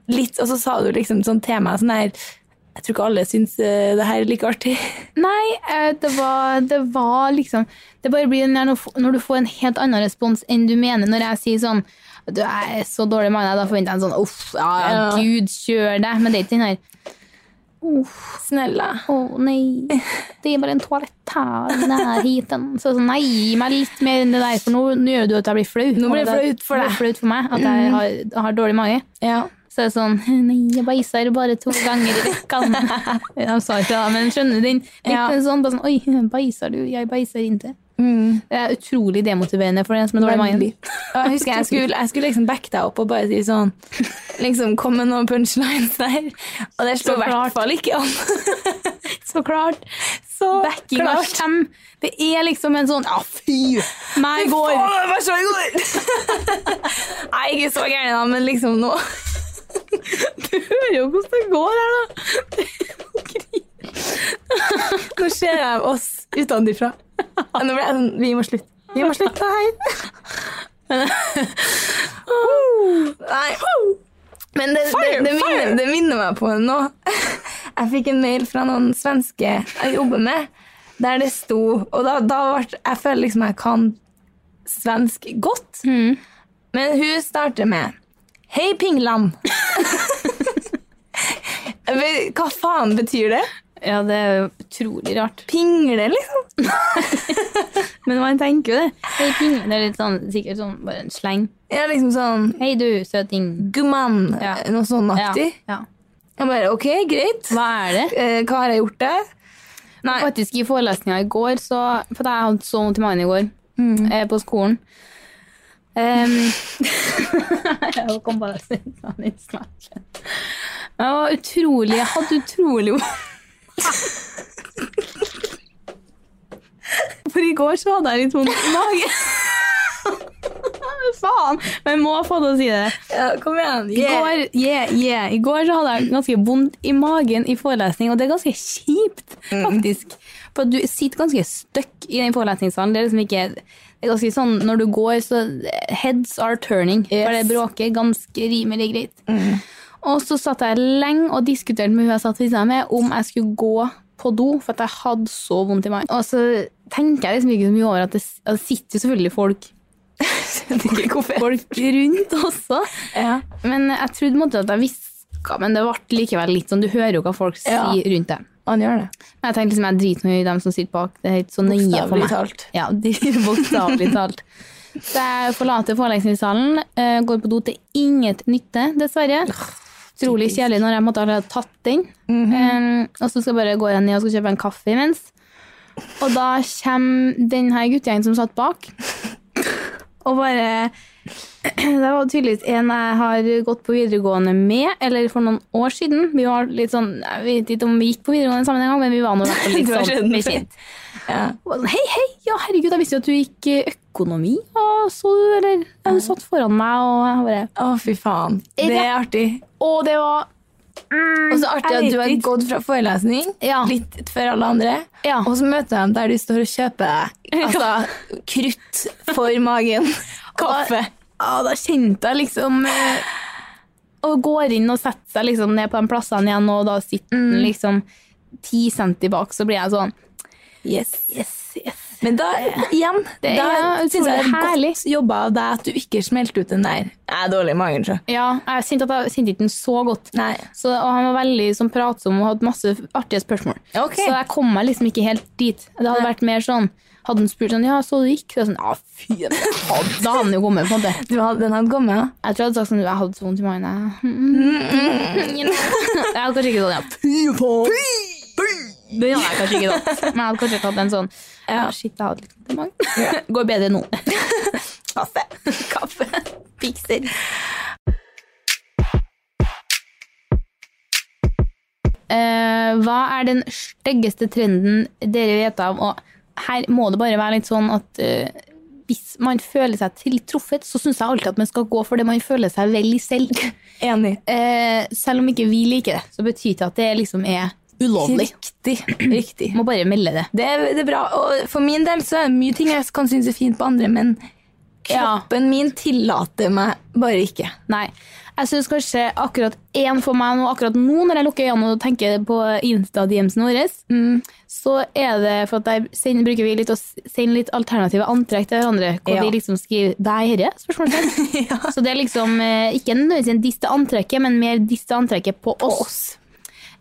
Speaker 1: Litt, og så sa du liksom sånn til meg sånn der Jeg tror ikke alle syns eh, det her er like artig.
Speaker 2: Nei, eh, det var, det var liksom Det bare blir den der når f- når du får en helt annen respons enn du mener. Når jeg sier sånn Du jeg er så dårlig i magen, da forventer jeg en sånn Uff, ja, ja,
Speaker 1: Ja.
Speaker 2: gud, kjør deg. Men det er ikke den her
Speaker 1: Snella.
Speaker 2: Å nei, det er bare en toalett her i nærheten. Så sånn, nei, gi meg litt mer enn det der, for nå, nå gjør du Mm. at jeg blir flau.
Speaker 1: Nå blir det
Speaker 2: Og
Speaker 1: flaut for
Speaker 2: nå blir det flaut for meg at jeg har, har dårlig mage.
Speaker 1: Ja.
Speaker 2: Så er det sånn <laughs> Nei, jeg beiser bare to ganger i vekka.
Speaker 1: <laughs>
Speaker 2: De sa ikke det, men skjønner du den? Litt
Speaker 1: Ja.
Speaker 2: sånn, bare sånn Oi, beiser du? Jeg beiser ikke. Det er utrolig demotiverende for en som er dårlig i magen.
Speaker 1: Mm. Veldig. Og jeg husker
Speaker 2: <laughs>
Speaker 1: jeg skulle, jeg skulle liksom backe deg opp og bare si sånn Liksom komme med noen punchlines der. Og det slo i hvert fall ikke an. <laughs>
Speaker 2: Så klart.
Speaker 1: Så
Speaker 2: Backing av
Speaker 1: klart.
Speaker 2: skjem. Det er liksom en sånn Ja, fy! Meg går.
Speaker 1: Faen, vær så god! <laughs> Nei, ikke så gæren, da, men liksom nå <laughs> Du hører jo hvordan det går her, da. <laughs> Nå ser jeg oss utenfra. Nå ble jeg sånn Vi må slutte. Vi må slutte her. <laughs> Nei. Men det, det, det, minner, det minner meg på nå. Jeg fikk en mail fra noen svenske jeg jobber med, der det sto Og da, da ble Jeg føler liksom jeg kan svensk godt.
Speaker 2: Mm.
Speaker 1: Men hun starter med Hei,
Speaker 2: <laughs>
Speaker 1: Pingland. Jeg vet- Hva faen betyr det?
Speaker 2: Ja, det er jo utrolig rart.
Speaker 1: Pingle, liksom?
Speaker 2: Men man tenker jo det. Hei, ping. Det er litt sånn, sikkert sånn bare en sleng.
Speaker 1: Ja, liksom sånn
Speaker 2: Hei, du, søting.
Speaker 1: Gumman,
Speaker 2: Ja.
Speaker 1: noe sånn
Speaker 2: Ja.
Speaker 1: aktig.
Speaker 2: ja.
Speaker 1: Jeg bare OK, greit.
Speaker 2: Hva er det?
Speaker 1: Eh, hva har jeg gjort der? Nei.
Speaker 2: Faktisk i forelesninga i går, så, for jeg hadde så vondt i magen i går eh, på skolen Em, Jeg kom bare og sendte han en snap. Jeg var utrolig Jeg hadde utrolig For i går så hadde jeg litt vondt i magen. faen! Men jeg må få til å si det.
Speaker 1: Ja, kom igjen.
Speaker 2: I går, yeah, yeah. I går så hadde jeg ganske vondt i magen i forelesning, og det er ganske kjipt, faktisk. For du sitter ganske støkk i den forelesningssalen. Det er liksom ikke det er ganske sånn, Når du går, så heads are turning, for det
Speaker 1: Yes.
Speaker 2: bråker ganske rimelig greit. Og så satt jeg lenge og diskuterte med hun jeg satt ved siden av med, om jeg skulle gå på do, for at jeg hadde så vondt i magen. Og så tenker jeg liksom ikke så mye over at det, at det sitter jo selvfølgelig folk
Speaker 1: <laughs>
Speaker 2: folk rundt også.
Speaker 1: Ja.
Speaker 2: Men jeg trodde på en måte at jeg hviska, men det ble likevel litt sånn Du hører jo hva folk
Speaker 1: Ja.
Speaker 2: sier rundt deg.
Speaker 1: Han gjør det.
Speaker 2: Men jeg tenkte liksom jeg driter nå i dem som sitter bak. Det er helt så nøye for
Speaker 1: Bokstavelig
Speaker 2: meg.
Speaker 1: talt.
Speaker 2: Ja, de- <laughs> bokstavelig talt. Så jeg forlater forelesningssalen, eh, går på do til inget nytte, dessverre. Utrolig kjedelig når jeg måtte allerede tatt den.
Speaker 1: Mhm.
Speaker 2: Eh, og så skal jeg bare gå igjen ned og skal kjøpe en kaffe imens. Og da kommer den her guttegjengen som satt bak, og bare <clears throat> Det var tydeligvis en jeg har gått på videregående med, eller for noen år siden. Vi var litt sånn, Jeg vet ikke om vi gikk på videregående sammen en gang, men vi var nå i hvert fall
Speaker 1: <laughs>
Speaker 2: litt
Speaker 1: Du var
Speaker 2: sånn.
Speaker 1: kjent.
Speaker 2: Vi kjent. Og var sånn, Hei, hei, ja herregud, jeg visste jo at du gikk eh, økonomi, og så du, eller ja, hun satt foran meg, og jeg bare,
Speaker 1: Å, fy faen. Det er artig.
Speaker 2: å, det var,
Speaker 1: Og så artig
Speaker 2: jeg
Speaker 1: at du har
Speaker 2: vet ikke.
Speaker 1: gått fra forelesning
Speaker 2: Ja.
Speaker 1: litt før alle andre,
Speaker 2: Ja.
Speaker 1: og så møter jeg dem der de står og kjøper deg. Altså, krutt for magen.
Speaker 2: <laughs> Kaffe.
Speaker 1: Og-
Speaker 2: å, da kjente jeg liksom, eh, og går inn og setter seg liksom ned på den plassen igjen, og da sitter den liksom 10 cent bak, så blir jeg sånn,
Speaker 1: Yes.
Speaker 2: yes, yes.
Speaker 1: Men da, igjen,
Speaker 2: Det
Speaker 1: da
Speaker 2: er
Speaker 1: synes jeg det er
Speaker 2: utrolig
Speaker 1: godt jobba av deg at du ikke smelte ut den der. Jeg er dårlig i magen, sjø.
Speaker 2: Ja, jeg kjente at jeg kjente ikke den så godt.
Speaker 1: Nei.
Speaker 2: Så, og han var veldig sånn, pratsom og hadde masse artige spørsmål.
Speaker 1: Ok.
Speaker 2: Så jeg kom meg liksom ikke helt dit. Det hadde vært mer sånn Hadde han spurt sånn Ja, så du gikk? Så jeg sånn, ja, fy, men jeg hadde- da hadde han jo kommet på det.
Speaker 1: Du hadde, den hadde kommet, ja.
Speaker 2: Jeg tror jeg hadde sagt sånn Jeg hadde så vondt i magen. Jeg Mm, you know. Jeg hadde kanskje ikke sånn ja, fy faen. Det hadde jeg kanskje ikke tatt. Men jeg hadde kanskje tatt en sånn ja. Shit, jeg hadde litt vondt i magen. <laughs> Går bedre nå.
Speaker 1: Kaffe. Kaffe. Pikser.
Speaker 2: Eh, hva er den styggeste trenden dere vet av? Og her må det bare være litt sånn at eh, hvis man føler seg tiltruffet, så syns jeg alltid at man skal gå for det man føler seg vel i selv.
Speaker 1: Enig.
Speaker 2: Eh, selv om ikke vi liker det, så betyr ikke at det liksom er ulovlig.
Speaker 1: Riktig. Riktig.
Speaker 2: Må bare melde det.
Speaker 1: Det er, det er bra. Og for min del så er det mye ting jeg kan synes er fint på andre, men
Speaker 2: Ja.
Speaker 1: kroppen min tillater meg bare ikke.
Speaker 2: Nei. Jeg syns kanskje akkurat én for meg nå, akkurat nå når jeg lukker øynene og tenker på Insta-DM-en vår, så er det for at der sender, bruker vi litt å s- sende litt alternative antrekk til hverandre. Hvor
Speaker 1: Ja.
Speaker 2: vi liksom skriver 'deg herre?' spørsmålstegn. Så det er liksom eh, ikke nødvendigvis en disse antrekket, men mer disse antrekket på, oss.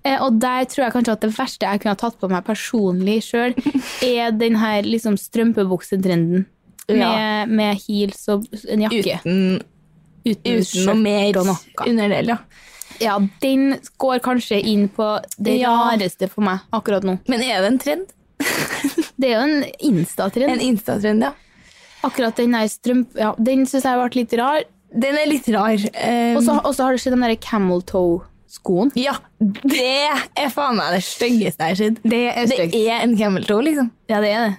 Speaker 2: Eh, Og der tror jeg kanskje at det verste jeg kunne ha tatt på meg personlig sjøl, er den her liksom strømpebuksetrenden.
Speaker 1: Ja.
Speaker 2: Med, med heels og en jakke.
Speaker 1: Uten, uten noe
Speaker 2: skjørt
Speaker 1: mer
Speaker 2: og noe.
Speaker 1: underdel, ja.
Speaker 2: Ja, den går kanskje inn på det
Speaker 1: Ja.
Speaker 2: rareste for meg akkurat nå.
Speaker 1: Men er det en trend?
Speaker 2: Det er jo en
Speaker 1: En
Speaker 2: Insta-trend.
Speaker 1: Insta-trend, ja.
Speaker 2: Akkurat den der strømp... Ja, den syns jeg ble litt rar.
Speaker 1: Den er litt rar. Eh,
Speaker 2: Og så og så har det skjedd den derre camel toe-skoen.
Speaker 1: ja, det er faen meg det styggeste jeg har sett.
Speaker 2: Det er stygt.
Speaker 1: Det er en camel toe, liksom.
Speaker 2: Ja, det er det.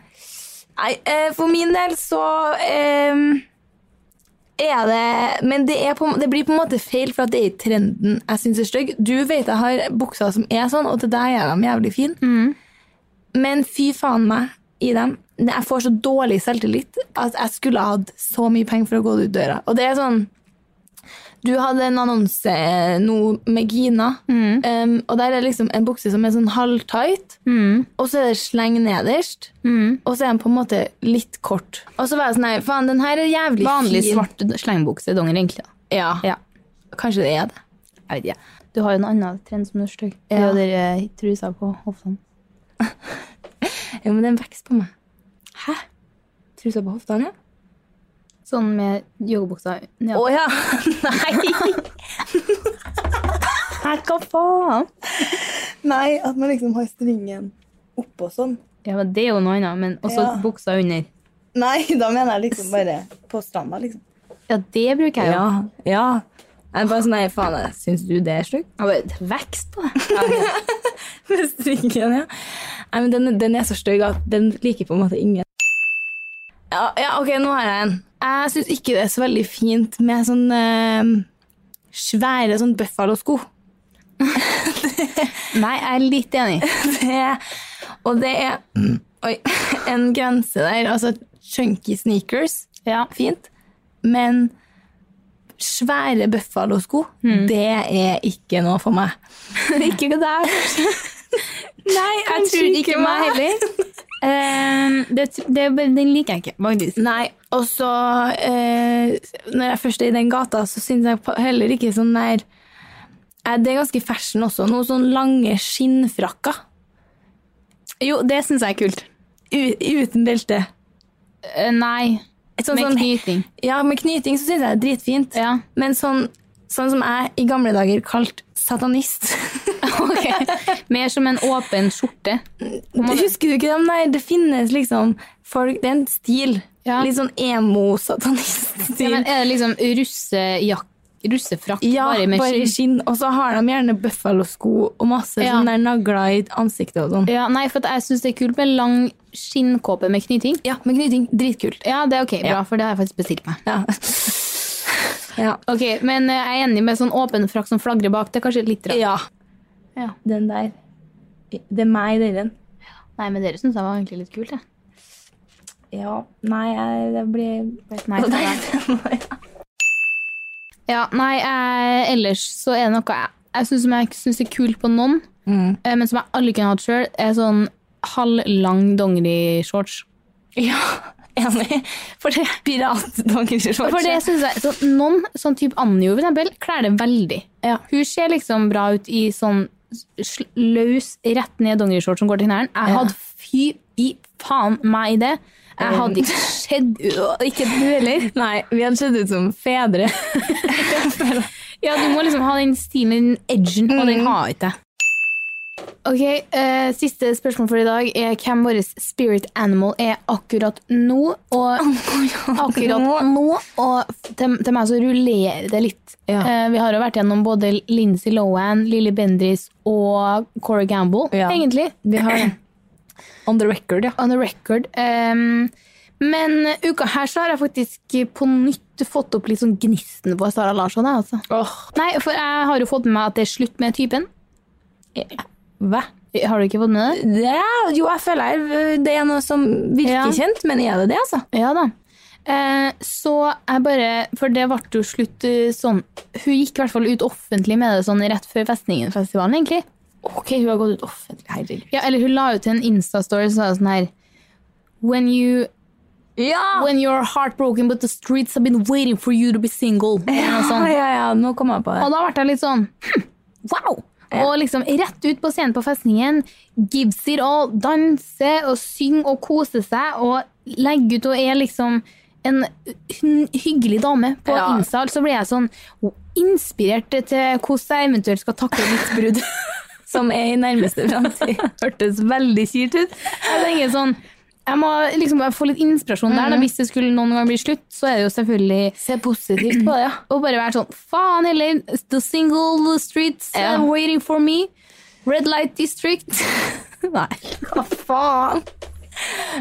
Speaker 1: Nei, eh, for min del så eh, er det Men det, er på, det blir på en måte feil, for at det er ikke trenden jeg syns er stygg. Du vet jeg har bukser som er sånn, og til deg er de jævlig fine. Men fy faen meg i dem. Jeg får så dårlig selvtillit at jeg skulle ha hatt så mye penger for å gå ut døra. Og det er sånn Du hadde en annonse eh, nå med Gina, eh, og der er det liksom en bukse som er sånn halvtight, og så er det sleng nederst. Og så er den på en måte litt kort. Og så var jeg sånn Nei, faen, den her er jævlig
Speaker 2: Vanlig
Speaker 1: fin.
Speaker 2: svart slengbukse donger, egentlig. da.
Speaker 1: Ja.
Speaker 2: Ja.
Speaker 1: Kanskje det er det.
Speaker 2: Jeg vet ikke. Du har jo en annen trend som er stygg. Det er
Speaker 1: Ja.
Speaker 2: jo den eh, trusa på hoftene.
Speaker 1: Ja, men den vokser på meg. Hæ? Trusa på hoftene, ja?
Speaker 2: Sånn med yogabuksa
Speaker 1: Å
Speaker 2: ned.
Speaker 1: ja! <laughs> Nei.
Speaker 2: Nei, hva faen?
Speaker 1: Nei, at man liksom har stringen oppå sånn.
Speaker 2: Ja, men Det er jo noe annet, men også
Speaker 1: Ja.
Speaker 2: buksa under.
Speaker 1: Nei, da mener jeg liksom bare på stranda, liksom.
Speaker 2: Ja, det bruker jeg jo.
Speaker 1: Ja. ja. Jeg er bare sånn Nei, faen, syns du det er stygt?
Speaker 2: Ja. bare Vekst på det.
Speaker 1: <laughs> Med stringen, ja. Nei, men den, den er så stygg at den liker på en måte ingen. Ja, ja, ok, nå har jeg en. Jeg syns ikke det er så veldig fint med sånn eh, svære sånn buffalosko. <laughs>
Speaker 2: Nei, jeg er litt enig. <laughs>
Speaker 1: Det- Og det er <clears throat> oi, <laughs> en grense der. Altså chunky sneakers,
Speaker 2: Ja.
Speaker 1: fint. Men svære buffalosko,
Speaker 2: Hmm.
Speaker 1: det er ikke noe for meg.
Speaker 2: ikke det der. Nei, jeg
Speaker 1: Kanskje
Speaker 2: tror
Speaker 1: ikke
Speaker 2: ikke meg
Speaker 1: meg. <laughs>
Speaker 2: heller. Eh, det, det, den liker jeg ikke, faktisk.
Speaker 1: Nei, og så eh, Når jeg først er i den gata, så syns jeg på- heller ikke sånn der eh, Det er ganske fashion også. Noen sånn lange skinnfrakker
Speaker 2: Jo, det syns jeg er kult.
Speaker 1: u- uten belte.
Speaker 2: Eh, nei.
Speaker 1: Et sånn,
Speaker 2: Med
Speaker 1: sånn,
Speaker 2: knyting.
Speaker 1: Ja, med knyting så syns jeg det er dritfint.
Speaker 2: Ja.
Speaker 1: Men sånn, sånn som jeg i gamle dager kalte satanist
Speaker 2: <laughs> <laughs> Ok. Mer som en åpen skjorte.
Speaker 1: <laughs> Husker du ikke dem? Nei, det finnes liksom folk Det er en stil.
Speaker 2: Ja.
Speaker 1: Litt sånn
Speaker 2: Ja,
Speaker 1: emo-satanist-stil.
Speaker 2: men er det liksom russejakk, russefrakk,
Speaker 1: Ja,
Speaker 2: bare med
Speaker 1: bare i
Speaker 2: skinn?
Speaker 1: skinn. Og så har de gjerne buffalosko og masse
Speaker 2: Ja.
Speaker 1: sånne der nagler i ansiktet og sånn.
Speaker 2: Ja, nei, for at jeg syns det er kult med lang skinnkåpe med knyting.
Speaker 1: Ja, med knyting. Dritkult.
Speaker 2: Ja, det er ok, bra, for det har jeg faktisk bestilt meg.
Speaker 1: Ja. <laughs> ja.
Speaker 2: Ok, Men eh, jeg er enig med sånn åpen frakk som flagrer bak. Det er kanskje litt rart.
Speaker 1: ja.
Speaker 2: Ja.
Speaker 1: Den der. Det er meg i den.
Speaker 2: Nei, men dere syns jeg var egentlig litt kult, jeg.
Speaker 1: Ja. Nei, jeg, det blir
Speaker 2: Nei,
Speaker 1: Nei,
Speaker 2: nei.
Speaker 1: <laughs>
Speaker 2: Ja, nei, eh, ellers så er det noe jeg, jeg syns som jeg syns er kult på noen, eh, men som jeg aldri kunne hatt sjøl, er sånn halvlang dongerishorts.
Speaker 1: Ja, enig. For det er piratdongerishorts.
Speaker 2: For det synes jeg, så Noen, sånn type Anjo for eksempel, kler det veldig.
Speaker 1: Ja.
Speaker 2: Hun ser liksom bra ut i sånn sl- løs, rett ned dongerishorts som går til knærne. Jeg
Speaker 1: Ja.
Speaker 2: hadde fy i faen meg i det. Jeg hadde ikke sett ut Ikke du heller.
Speaker 1: Nei, vi hadde sett ut som fedre.
Speaker 2: Ja, du må liksom ha den stilen, den edgen, og den har jeg ikke Mm. Ok, eh, Siste spørsmål for i dag er hvem vår spirit animal er akkurat nå. Og <laughs> akkurat nå, og til, til meg så rullerer det litt.
Speaker 1: Ja.
Speaker 2: Eh, vi har jo vært gjennom både Lincy Lohan, Lilly Bendriss og Cora Gamble,
Speaker 1: Ja.
Speaker 2: egentlig.
Speaker 1: Vi har det. <laughs> On the record, ja.
Speaker 2: On the record. Ehm, men uka her så har jeg faktisk på nytt fått opp litt sånn gnisten på Sara Larsson. jeg, Altså. Nei, for jeg har jo fått med meg at det er slutt med typen.
Speaker 1: Hva?
Speaker 2: Har du ikke fått med det?
Speaker 1: jo, jeg føler jeg- det er noe som virker
Speaker 2: Ja.
Speaker 1: kjent, men er det det, altså?
Speaker 2: Ja da. Eh, så jeg bare For det ble jo slutt eh, sånn Hun gikk i hvert fall ut offentlig med det sånn rett før Festningenfestivalen, egentlig.
Speaker 1: Ok, hun har gått ut offentlig. Herregud.
Speaker 2: Ja, eller hun la ut en Insta-story som sa sånn her When you
Speaker 1: Ja!
Speaker 2: When you're heartbroken but the streets have been waiting for you to be single. Eller noe sånt.
Speaker 1: Ja, ja, ja, nå kom jeg på
Speaker 2: sånn-
Speaker 1: det.
Speaker 2: Og da ble jeg litt sånn hm, wow! Og liksom rett ut på scenen på festningen. Gives it all. Danse og synge og kose seg og legge ut og er liksom en hy- hyggelig dame på
Speaker 1: Ja.
Speaker 2: Insta. Så ble jeg sånn inspirert til hvordan jeg eventuelt skal takle mitt brudd.
Speaker 1: Som er i
Speaker 2: <laughs>
Speaker 1: nærmeste fremtid. Hørtes veldig kjipt ut.
Speaker 2: Jeg tenker sånn jeg må liksom bare få litt inspirasjon der. Da. Hvis det skulle noen gang bli slutt, så er det jo selvfølgelig
Speaker 1: Mhm. Se positivt
Speaker 2: <clears throat>
Speaker 1: på det, ja.
Speaker 2: Og bare være sånn Faen heller, the single streets
Speaker 1: Ja.
Speaker 2: are waiting for me. Red light district. <laughs> Nei.
Speaker 1: Hva faen?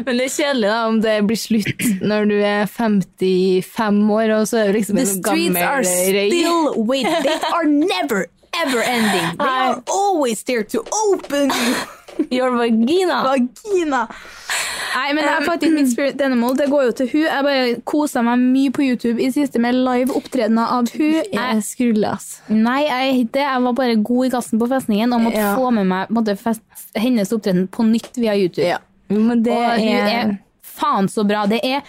Speaker 1: Men det er kjedelig da om det blir slutt når du er 55 år, og så er du liksom en sånn gammel røy.
Speaker 2: waiting.
Speaker 1: <laughs>
Speaker 2: They are never, ever ending. They
Speaker 1: are
Speaker 2: always there to open
Speaker 1: <laughs> Your vagina.
Speaker 2: vagina. Um, Nei, men det er faktisk mitt spirit animal. Det går jo til hun. Jeg bare kosa meg mye på YouTube i siste med live opptredener av hun. Jeg
Speaker 1: Jeg skulle, ass.
Speaker 2: Nei, jeg, er ikke det. jeg var bare god i gassen på festningen og måtte
Speaker 1: Ja.
Speaker 2: få med meg måtte fest, hennes opptreden på nytt via YouTube.
Speaker 1: Men det
Speaker 2: og hun
Speaker 1: er...
Speaker 2: er faen så bra. Det er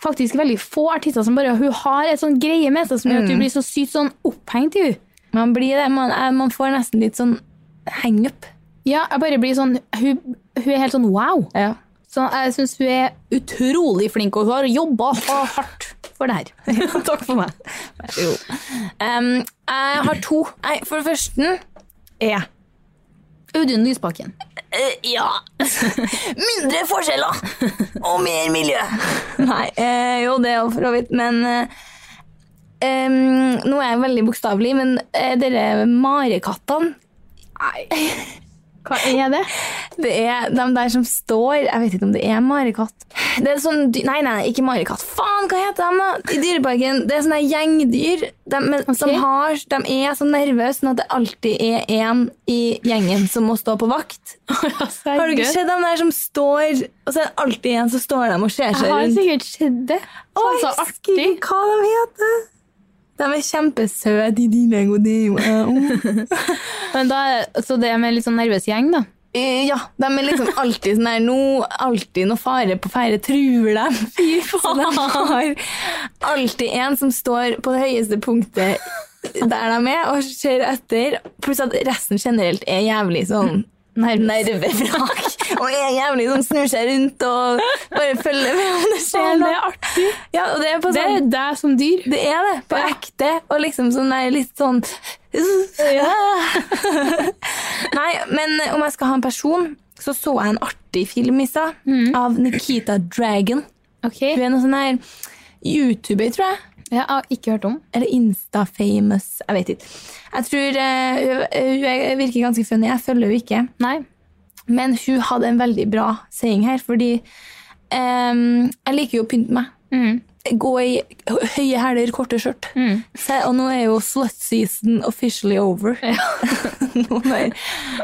Speaker 2: faktisk veldig få artister som bare Hun har et sånn greie med seg som gjør at
Speaker 1: Mm.
Speaker 2: du blir så sykt sånn opphengt i henne.
Speaker 1: Man blir det. Man, er, man får nesten litt sånn hang-up.
Speaker 2: Ja, jeg bare blir sånn Hun, hun er helt sånn wow.
Speaker 1: Ja.
Speaker 2: Så jeg syns hun er utrolig flink, og hun har jobba hardt for det her. <laughs>
Speaker 1: Takk for meg. Um, jeg har to. Nei, for det første er
Speaker 2: Audun Lysbakken.
Speaker 1: Ja. Mindre forskjeller og mer miljø. Nei, eh, jo det òg, for så vidt, men eh, em, Nå er jeg veldig bokstavelig, men eh, dere marekattene Nei.
Speaker 2: Hva er det?
Speaker 1: Det er de der som står Jeg vet ikke om det er marekatt. Det er sånn, dy- nei, nei, ikke marekatt. Faen, hva heter de, da? I Dyreparken. Det er sånne gjengdyr. De, men, som har, de er så nervøse sånn at det alltid er én i gjengen som må stå på vakt. Har du ikke sett de der som står, og så er det alltid en som står dem og ser
Speaker 2: Jeg
Speaker 1: seg
Speaker 2: har
Speaker 1: rundt?
Speaker 2: sikkert sett det.
Speaker 1: Å,
Speaker 2: Sånn
Speaker 1: jeg
Speaker 2: så
Speaker 1: husker
Speaker 2: artig.
Speaker 1: ikke hva de heter. De er kjempesøte, de dine gode
Speaker 2: Men da, så det med litt sånn nervøs gjeng, da.
Speaker 1: Eh, Ja, de er liksom alltid sånn her nå, alltid noe fare på ferde truer dem. <laughs> Fy faen! Så de har alltid en som står på det høyeste punktet der de er, og ser etter. Pluss at resten generelt er jævlig sånn nervevrak. <laughs> Og er jævlig sånn snur seg rundt og bare følger med om det skjer
Speaker 2: Faen, det
Speaker 1: noe.
Speaker 2: er artig.
Speaker 1: Ja, og det er på
Speaker 2: Det er
Speaker 1: sånn
Speaker 2: deg som dyr.
Speaker 1: det er det, på ekte. Og liksom sånn der litt sånn <laughs> Nei, men eh, om jeg skal ha en person, så så jeg en artig film i stad av Nikita Dragon.
Speaker 2: Ok.
Speaker 1: Hun er noe sånn her YouTuber, tror jeg.
Speaker 2: Jeg har ikke hørt om.
Speaker 1: Eller Insta-famous. Jeg vet ikke. Jeg tror eh, hun- Hun er- virker ganske funny. Jeg følger henne ikke.
Speaker 2: Nei.
Speaker 1: Men hun hadde en veldig bra saying her, fordi ehm, jeg liker jo å pynte meg. Gå i hø- høye hæler, korte skjørt. Se, og nå er jo slut season officially over. <laughs> nå er,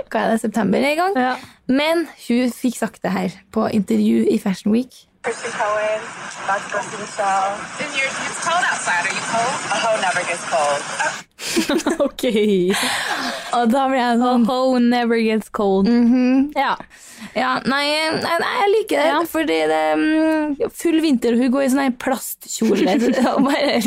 Speaker 1: hva er det, september er i gang?
Speaker 2: Ja.
Speaker 1: Men hun fikk sagt det her på intervju i Fashion Week.
Speaker 5: Christy Cohen, about to go see the show. It's, it's cold outside. Are you cold? A hoe never gets cold.
Speaker 2: <laughs> Ok.
Speaker 1: Og da ble jeg sånn
Speaker 2: Oh, never gets cold. Ja.
Speaker 1: Ja, nei, nei, nei jeg liker det.
Speaker 2: Ja.
Speaker 1: Fordi det er mm, full vinter, og hun går i sånn her <laughs> plastkjole og bare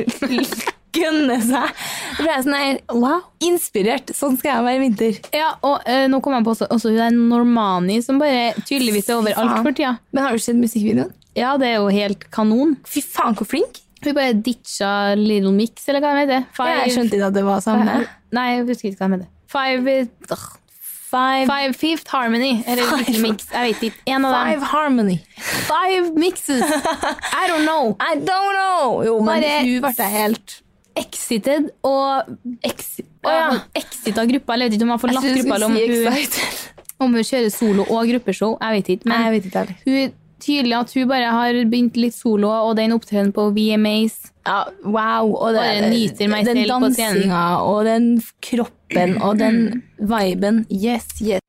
Speaker 1: gønner seg. Da ble jeg sånn her wow, inspirert. Sånn skal jeg være i vinter.
Speaker 2: Ja, og eh, nå kom jeg på også, også hun der Normani som bare tydeligvis er overalt
Speaker 1: Faen.
Speaker 2: for tida.
Speaker 1: Men har du sett musikkvideoen?
Speaker 2: Ja, det er jo helt kanon.
Speaker 1: Fy faen, hvor flink!
Speaker 2: Hun bare ditcha Little Mix, eller hva heter det?
Speaker 1: Jeg skjønte ikke at det var sånn. samme.
Speaker 2: Five- Nei, jeg husker ikke hva jeg mente. Five, ugh,
Speaker 1: Five, five,
Speaker 2: five Fifth Harmony, eller
Speaker 1: Five-
Speaker 2: Little Mix. Jeg vet ikke. En av dem.
Speaker 1: Harmony.
Speaker 2: Five
Speaker 1: <laughs>
Speaker 2: mixes! I don't know.
Speaker 1: I don't know! Jo, men
Speaker 2: Bare-
Speaker 1: hun ble helt
Speaker 2: Exited og Exit
Speaker 1: Å, ja. sånn
Speaker 2: Exita gruppa. Eller jeg vet ikke om hun har forlatt gruppa, eller om hun,
Speaker 1: excited.
Speaker 2: om hun kjører solo og gruppeshow. Jeg vet ikke.
Speaker 1: Nei,
Speaker 2: Men
Speaker 1: jeg vet ikke heller.
Speaker 2: hun tydelig at hun bare har begynt litt solo, og den opptredenen på VMAs
Speaker 1: Ja, wow. Og det,
Speaker 2: Bare nyter meg
Speaker 1: den
Speaker 2: selv på scenen. Mm.
Speaker 1: dansinga og den kroppen og den viben. Yes, yes.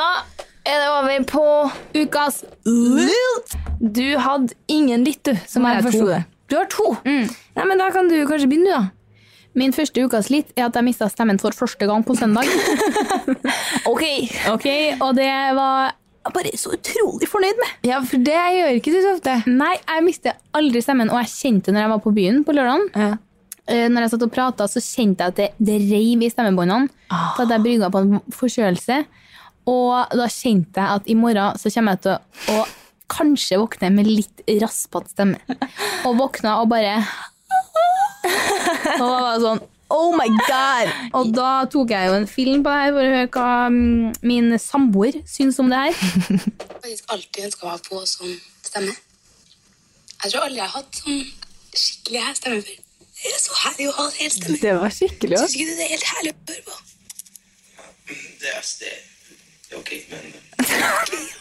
Speaker 1: Da er det over på ukas Du hadde ingen litt, du, som
Speaker 2: Nå har jeg
Speaker 1: jeg forsto
Speaker 2: to. Mm.
Speaker 1: det. Du har to! Nei, men Da kan du kanskje begynne, du, da.
Speaker 2: Min første ukas litt er at jeg mista stemmen for første gang på søndag.
Speaker 1: Ok.
Speaker 2: Ok, Og det var
Speaker 1: Jeg er bare så utrolig fornøyd med. Ja, for det gjør ikke du så ofte.
Speaker 2: Nei, jeg mister aldri stemmen, og jeg kjente det når jeg var på byen på lørdagen.
Speaker 1: Ja.
Speaker 2: Eh, Når jeg satt og prata, så kjente jeg at det, det reiv i stemmebåndene. Så hadde jeg brygga på en forkjølelse. Og da kjente jeg at i morgen så kommer jeg til å kanskje våkne med litt raspete stemme. Og våkna og bare Og var bare sånn
Speaker 1: Oh my god!
Speaker 2: Og da tok jeg jo en film på det her for å høre hva mm, min samboer syns om det her.
Speaker 6: faktisk alltid ønska å ha på sånn stemme. Jeg tror aldri jeg har hatt sånn skikkelig her stemme før. Det er så herlig å ha en hel stemme.
Speaker 1: Det var skikkelig.
Speaker 6: Syns ikke du det er helt herlig å høre på?
Speaker 7: Det er, det, det er ok, men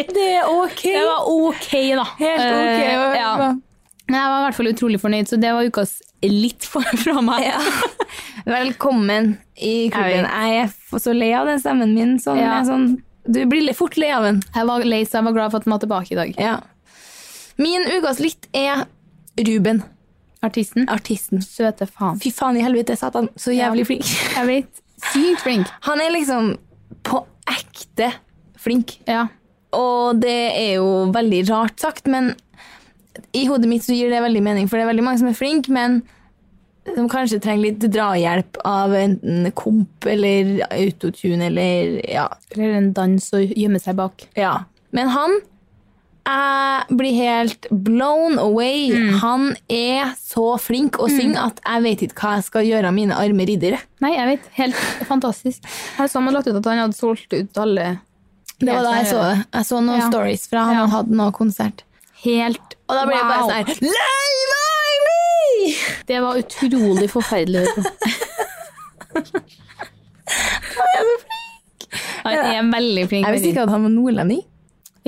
Speaker 1: Det er ok.
Speaker 2: Det var ok, da.
Speaker 1: Helt ok.
Speaker 2: Eh, ja. Men jeg var i hvert fall utrolig fornøyd, så det var ukas litt for, fra meg.
Speaker 1: <laughs> Velkommen i klubben.
Speaker 2: Jeg
Speaker 1: Jeg er f- så lei av den stemmen min. Sånn,
Speaker 2: Ja.
Speaker 1: jeg er sånn, du blir litt fort lei av den.
Speaker 2: Jeg var lei, så jeg var glad for at den var tilbake i dag.
Speaker 1: Ja. Min ukas lytt er Ruben,
Speaker 2: Artisten.
Speaker 1: artisten.
Speaker 2: Søte faen.
Speaker 1: Fy faen i helvete, satan. Så jævlig flink.
Speaker 2: Jeg vet. Sykt flink.
Speaker 1: Han er liksom på ekte flink.
Speaker 2: Ja.
Speaker 1: Og det er jo veldig rart sagt, men i hodet mitt så gir det veldig mening, for det er veldig mange som er flinke, men som kanskje trenger litt drahjelp av enten komp eller autotune eller ja.
Speaker 2: Eller en dans og gjemme seg bak.
Speaker 1: ja. Men han jeg blir helt blown away. Han er så flink å synge at jeg vet ikke hva jeg skal gjøre av mine arme riddere.
Speaker 2: Nei, jeg vet. Helt fantastisk. Jeg så han hadde lagt ut at han hadde solgt ut alle
Speaker 1: Det var da jeg så det. Jeg så noen
Speaker 2: Ja.
Speaker 1: stories fra han
Speaker 2: Ja.
Speaker 1: han hadde noe konsert.
Speaker 2: Helt
Speaker 1: Og da ble jeg bare sånn her, Lei meg mi!
Speaker 2: Det var utrolig forferdelig å høre på. Han er så flink! Han er veldig flink.
Speaker 1: Jeg visste ikke at han var nordlending.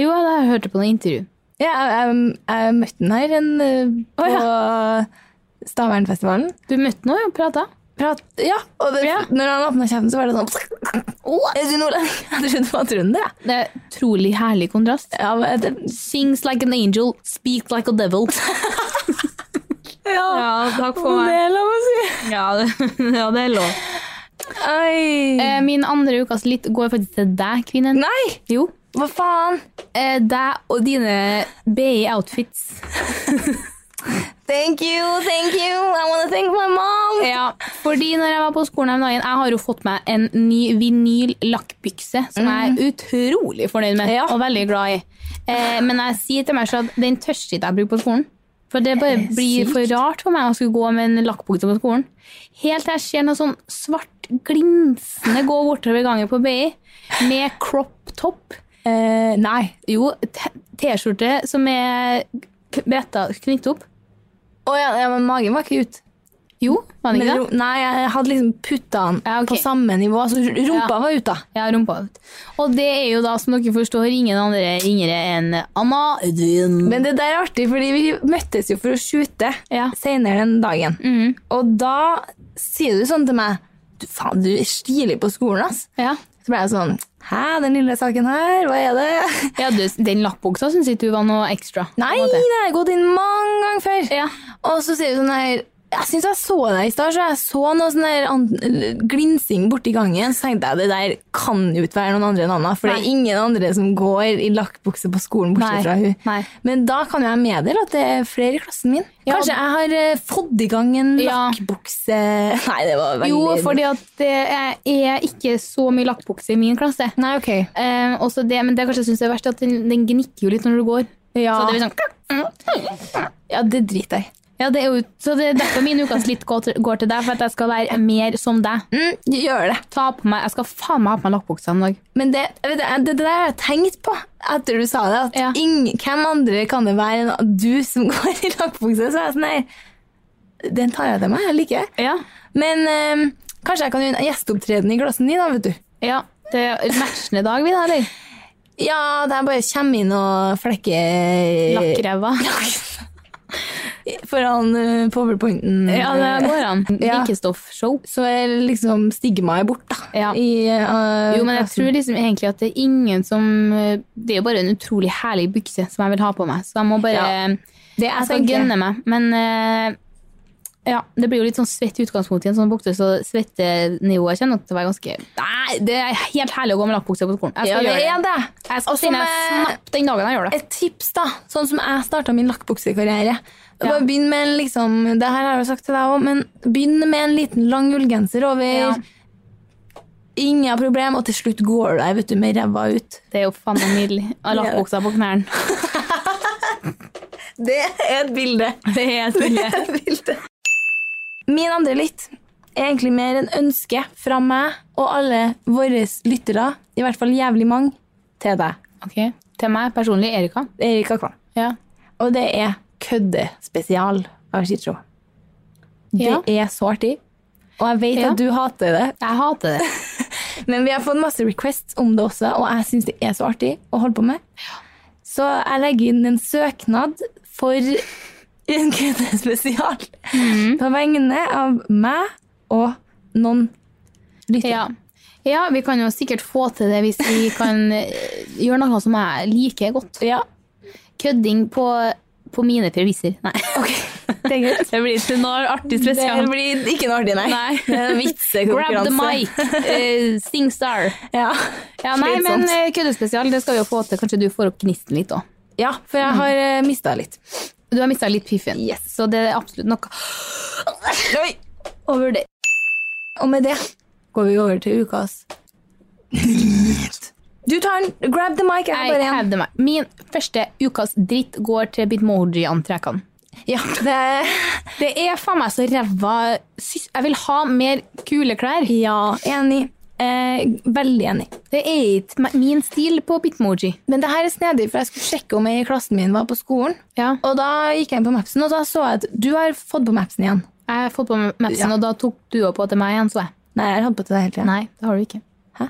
Speaker 2: Jo, jeg hørte på noe intervju.
Speaker 1: Ja, jeg, jeg, jeg møtte han her en, eh, på Stavernfestivalen.
Speaker 2: Du møtte han og prata?
Speaker 1: Prat, ja, og det, når han åpna kjeften, så var det sånn Åh, er du nordlending? <laughs> Jeg trodde det var trønder, jeg.
Speaker 2: Det er utrolig herlig kontrast. Sings like an angel, speak like a
Speaker 1: <laughs>
Speaker 2: devil. Ja, takk for meg.
Speaker 1: Det er lov å si.
Speaker 2: Ja, det, <laughs> ja, det er lov.
Speaker 1: Oi.
Speaker 2: Eh, min andre ukas litt går faktisk til deg, kvinnen.
Speaker 1: Nei!
Speaker 2: Jo.
Speaker 1: Hva faen?
Speaker 2: Eh, deg og dine BI-outfits.
Speaker 1: Thank you, thank you. I wanna thank my mom.
Speaker 2: Ja, fordi når jeg var på skolen her om dagen, jeg har jo fått meg en ny vinyl-lakkbykse, som
Speaker 1: Mm.
Speaker 2: jeg er utrolig fornøyd med og veldig glad i. Eh, men jeg sier til meg selv at den tørstskitten jeg bruker på skolen, for det bare blir for rart for meg å skulle gå med en lakkbukse på skolen. Helt til jeg ser noe sånn svart glinsende gå bortover gangen på BI, med crop top.
Speaker 1: Eh, nei.
Speaker 2: Jo, t- T-skjorte som er k- bretta knyttet opp.
Speaker 1: Å ja, ja, men magen var ikke ute.
Speaker 2: Jo, var den
Speaker 1: Men
Speaker 2: ikke det?
Speaker 1: ro- Nei, jeg hadde liksom putta den
Speaker 2: Ja, ok.
Speaker 1: på samme nivå. Så rumpa
Speaker 2: Ja.
Speaker 1: var ute. da.
Speaker 2: Ja, rumpa ut. Og det er jo da, som dere forstår, ingen andre ringere enn Anna Edvin.
Speaker 1: Men det der er artig, fordi vi møttes jo for å shoote
Speaker 2: Ja.
Speaker 1: senere den dagen. Og da sier du sånn til meg du, Faen, du er stilig på skolen, ass.
Speaker 2: ja.
Speaker 1: Så ble jeg sånn Hæ, den lille saken her, hva er det?
Speaker 2: ja du, den lappbuksa syns ikke du var noe ekstra. på en
Speaker 1: Nei,
Speaker 2: måte.
Speaker 1: den har jeg gått inn mange ganger før.
Speaker 2: Ja.
Speaker 1: Og så sier du sånn her Jeg syns jeg så deg i stad, så jeg så noe sånn der an- glinsing borti gangen. Så tenkte jeg det der kan jo ikke være noen andre enn Anna, for det
Speaker 2: Nei.
Speaker 1: er ingen andre som går i lakkbukse på skolen
Speaker 2: Nei.
Speaker 1: bortsett fra hun.
Speaker 2: Nei.
Speaker 1: Men da kan jo jeg meddele at det er flere i klassen min.
Speaker 2: Ja.
Speaker 1: Kanskje jeg har eh, fått i gang en
Speaker 2: Ja.
Speaker 1: lakkbukse <laughs> Nei, det var veldig
Speaker 2: Jo, fordi at det er- er ikke så mye lakkbukse i min klasse.
Speaker 1: Nei, ok.
Speaker 2: Eh, også det, men det jeg kanskje syns er verst, er at den, den gnikker jo litt når du går.
Speaker 1: Ja,
Speaker 2: Så det blir sånn
Speaker 1: ja det driter jeg i.
Speaker 2: ja, det er jo, Så det er derfor min ukas litt går til, går til deg, for at jeg skal være mer som deg.
Speaker 1: Mm, gjør det.
Speaker 2: Ta på meg, Jeg skal faen meg ha på meg lakkbuksa en dag.
Speaker 1: Men det, jeg vet, det, det der har jeg tenkt på etter du sa det. At
Speaker 2: Ja.
Speaker 1: ingen, hvem andre kan det være enn du som <laughs> går i lakkbukse? Så er jeg sånn her Den tar jeg til meg. Jeg liker det.
Speaker 2: Ja.
Speaker 1: Men eh, kanskje jeg kan gjøre en gjesteopptreden i klassen din, da, vet du.
Speaker 2: Ja, det er matchende dag, vi da, eller?
Speaker 1: Ja, der jeg bare kommer inn og flekker <laughs>
Speaker 2: Lakkræva.
Speaker 1: foran eh, powerpointen.
Speaker 2: Ja, det går an.
Speaker 1: Ja.
Speaker 2: Drikkestoffshow.
Speaker 1: Så er liksom stigmaet bort, da.
Speaker 2: Ja.
Speaker 1: I, eh,
Speaker 2: Jo, men jeg
Speaker 1: klassen.
Speaker 2: tror liksom egentlig at det er ingen som eh, Det er jo bare en utrolig herlig bukse som jeg vil ha på meg, så jeg må bare
Speaker 1: Ja. Det jeg
Speaker 2: Jeg skal sånn
Speaker 1: tenker-
Speaker 2: gønne meg. Men eh, ja, det blir jo litt sånn svett i utgangspunktet i en sånn bukse, så svettenivået kommer nok til å være ganske Nei, det er helt herlig å gå med lakkbukse på skolen. Jeg
Speaker 1: Ja,
Speaker 2: skal
Speaker 1: det
Speaker 2: gjøre
Speaker 1: er
Speaker 2: det.
Speaker 1: det.
Speaker 2: Jeg skal
Speaker 1: Og som eh,
Speaker 2: finne
Speaker 1: jeg-
Speaker 2: snapp den dagen jeg gjør det.
Speaker 1: et tips, da. Sånn som jeg starta min lakkbuksekarriere. Bare Begynn med en liksom, det her har jeg jo sagt til deg også, men begynn med en liten lang ullgenser over.
Speaker 2: Ja.
Speaker 1: Ingen problem, og til slutt går du deg vet du, med ræva ut.
Speaker 2: Det er jo faen meg nydelig. Og Lakkbuksa på knærne.
Speaker 1: Det er et <laughs> bilde.
Speaker 2: Det er et bilde.
Speaker 1: Min andre litt er egentlig mer en ønske fra meg og alle våre lyttere, i hvert fall jævlig mange, til deg,
Speaker 2: Ok. Til meg personlig, Erika.
Speaker 1: Erika Kvam.
Speaker 2: Ja.
Speaker 1: Og det er køddespesial av Chitro. Det
Speaker 2: Ja.
Speaker 1: er så artig. Og jeg vet
Speaker 2: Ja.
Speaker 1: at du hater det,
Speaker 2: Jeg hater det.
Speaker 1: men vi har fått masse requests om det også, og jeg syns det er så artig å holde på med. Så jeg legger inn en søknad for en køddespesial
Speaker 2: Mm.
Speaker 1: på vegne av meg og noen lyttere.
Speaker 2: Ja. <laughs> ja, vi kan jo sikkert få til det hvis vi kan eh, gjøre noe som jeg liker godt.
Speaker 1: Ja,
Speaker 2: Kødding på, på mine premisser. Nei.
Speaker 1: det er
Speaker 2: <laughs>
Speaker 1: greit.
Speaker 2: Det blir ikke noe artig
Speaker 1: Det
Speaker 2: spesial.
Speaker 1: blir ikke noe artig, nei.
Speaker 2: Nei.
Speaker 1: <laughs> Det er en
Speaker 2: Grab the
Speaker 1: vitsekonkurranse.
Speaker 2: mic, eh, Singstar.
Speaker 1: Ja.
Speaker 2: Ja, nei, men
Speaker 1: Slitsomt.
Speaker 2: eh, køddespesial, det skal vi jo få til. Kanskje du får opp gnisten litt òg.
Speaker 1: ja, for
Speaker 2: Mm.
Speaker 1: jeg har mista litt.
Speaker 2: Du har mista litt piffen, så det er absolutt noe
Speaker 1: Oi. Og med det går vi over til ukas Du tar den. Grab the mic. Jeg har
Speaker 2: Jeg
Speaker 1: bare en.
Speaker 2: hevder meg. Min første ukas dritt går til bitmoji-antrekkene.
Speaker 1: Ja, det,
Speaker 2: Det er faen meg så ræva sys- Jeg vil ha mer kule klær.
Speaker 1: ja, enig. Eh,
Speaker 2: Eh, veldig enig. Det er ikke me- min stil på Bitmoji.
Speaker 1: Men det her er snedig, for jeg skulle sjekke om jeg i klassen min var på skolen. Og da gikk jeg inn på Mapsen, og da så jeg at du har fått på Mapsen igjen.
Speaker 2: Jeg har fått på Mapsen, og da tok du opp på til meg igjen, så jeg.
Speaker 1: Nei, jeg har hatt på til deg hele tiden.
Speaker 2: Nei, det har du ikke. Hæ?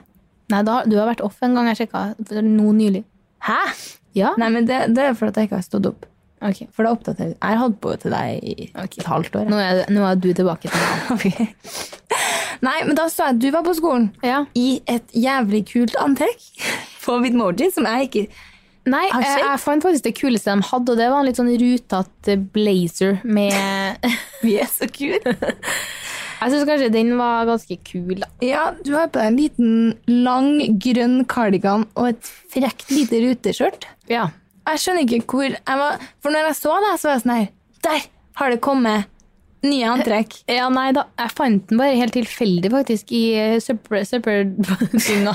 Speaker 2: Nei, da, du har vært off en gang jeg sjekket, for nå nylig.
Speaker 1: Hæ?
Speaker 2: Ja.
Speaker 1: Nei, men det, det er fordi jeg ikke har stått opp.
Speaker 2: Ok.
Speaker 1: For da oppdaterer jeg. Jeg har hatt på til deg i et halvt år. jeg.
Speaker 2: Nå er, nå er du tilbake til meg.
Speaker 1: <laughs> Nei, men da så jeg at du var på skolen i et jævlig kult antrekk på Bitmoji, som jeg ikke
Speaker 2: Nei,
Speaker 1: Har du
Speaker 2: jeg,
Speaker 1: sett?
Speaker 2: jeg fant faktisk det kuleste de hadde, og det var en litt sånn rutete blazer <laughs> med
Speaker 1: Vi er så kule.
Speaker 2: Jeg syns kanskje den var ganske kul, da.
Speaker 1: Ja, du har på deg en liten lang, grønn kardigan og et frekt lite ruteskjørt.
Speaker 2: Ja.
Speaker 1: Jeg skjønner ikke hvor jeg var For når jeg så det, så var jeg sånn her Der har det kommet nye antrekk.
Speaker 2: Ja, nei da. Jeg fant den bare helt tilfeldig, faktisk, i eh, søppeldynga.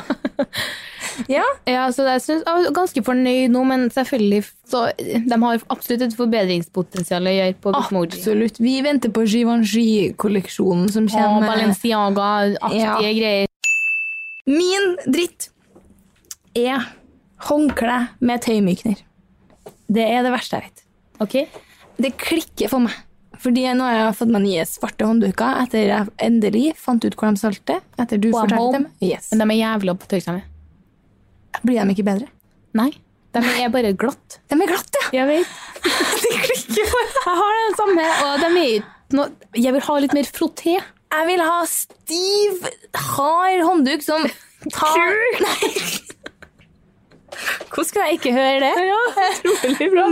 Speaker 1: Ja.
Speaker 2: <laughs> ja, så jeg, synes, jeg var ganske fornøyd nå, men selvfølgelig så De har absolutt et forbedringspotensial å gjøre på Bitmoji.
Speaker 1: Absolutt. Vi venter på Givenchy-kolleksjonen som
Speaker 2: Og
Speaker 1: kommer.
Speaker 2: Ah, Balenciaga-aktige
Speaker 1: Ja.
Speaker 2: greier.
Speaker 1: Min dritt er håndkle med tøymykner. Det er det verste jeg vet.
Speaker 2: Ok?
Speaker 1: Det klikker for meg. Fordi nå har jeg fått meg nye svarte håndduker etter jeg endelig fant ut hvor de solgte. Etter du
Speaker 2: På Amhom?
Speaker 1: fortalte dem. Yes.
Speaker 2: Men de er jævla på tørksomme.
Speaker 1: Blir de ikke bedre?
Speaker 2: Nei. De er bare glatt.
Speaker 1: De er glatte,
Speaker 2: <laughs>
Speaker 1: ja!
Speaker 2: Jeg vet.
Speaker 1: <laughs> De klikker for meg.
Speaker 2: Jeg har den samme, og de er ikke noe Jeg vil ha litt mer frotté.
Speaker 1: Jeg vil ha stiv, hard håndduk som tar <laughs> Nei. Hvordan kan jeg ikke høre det? Ja, Utrolig bra.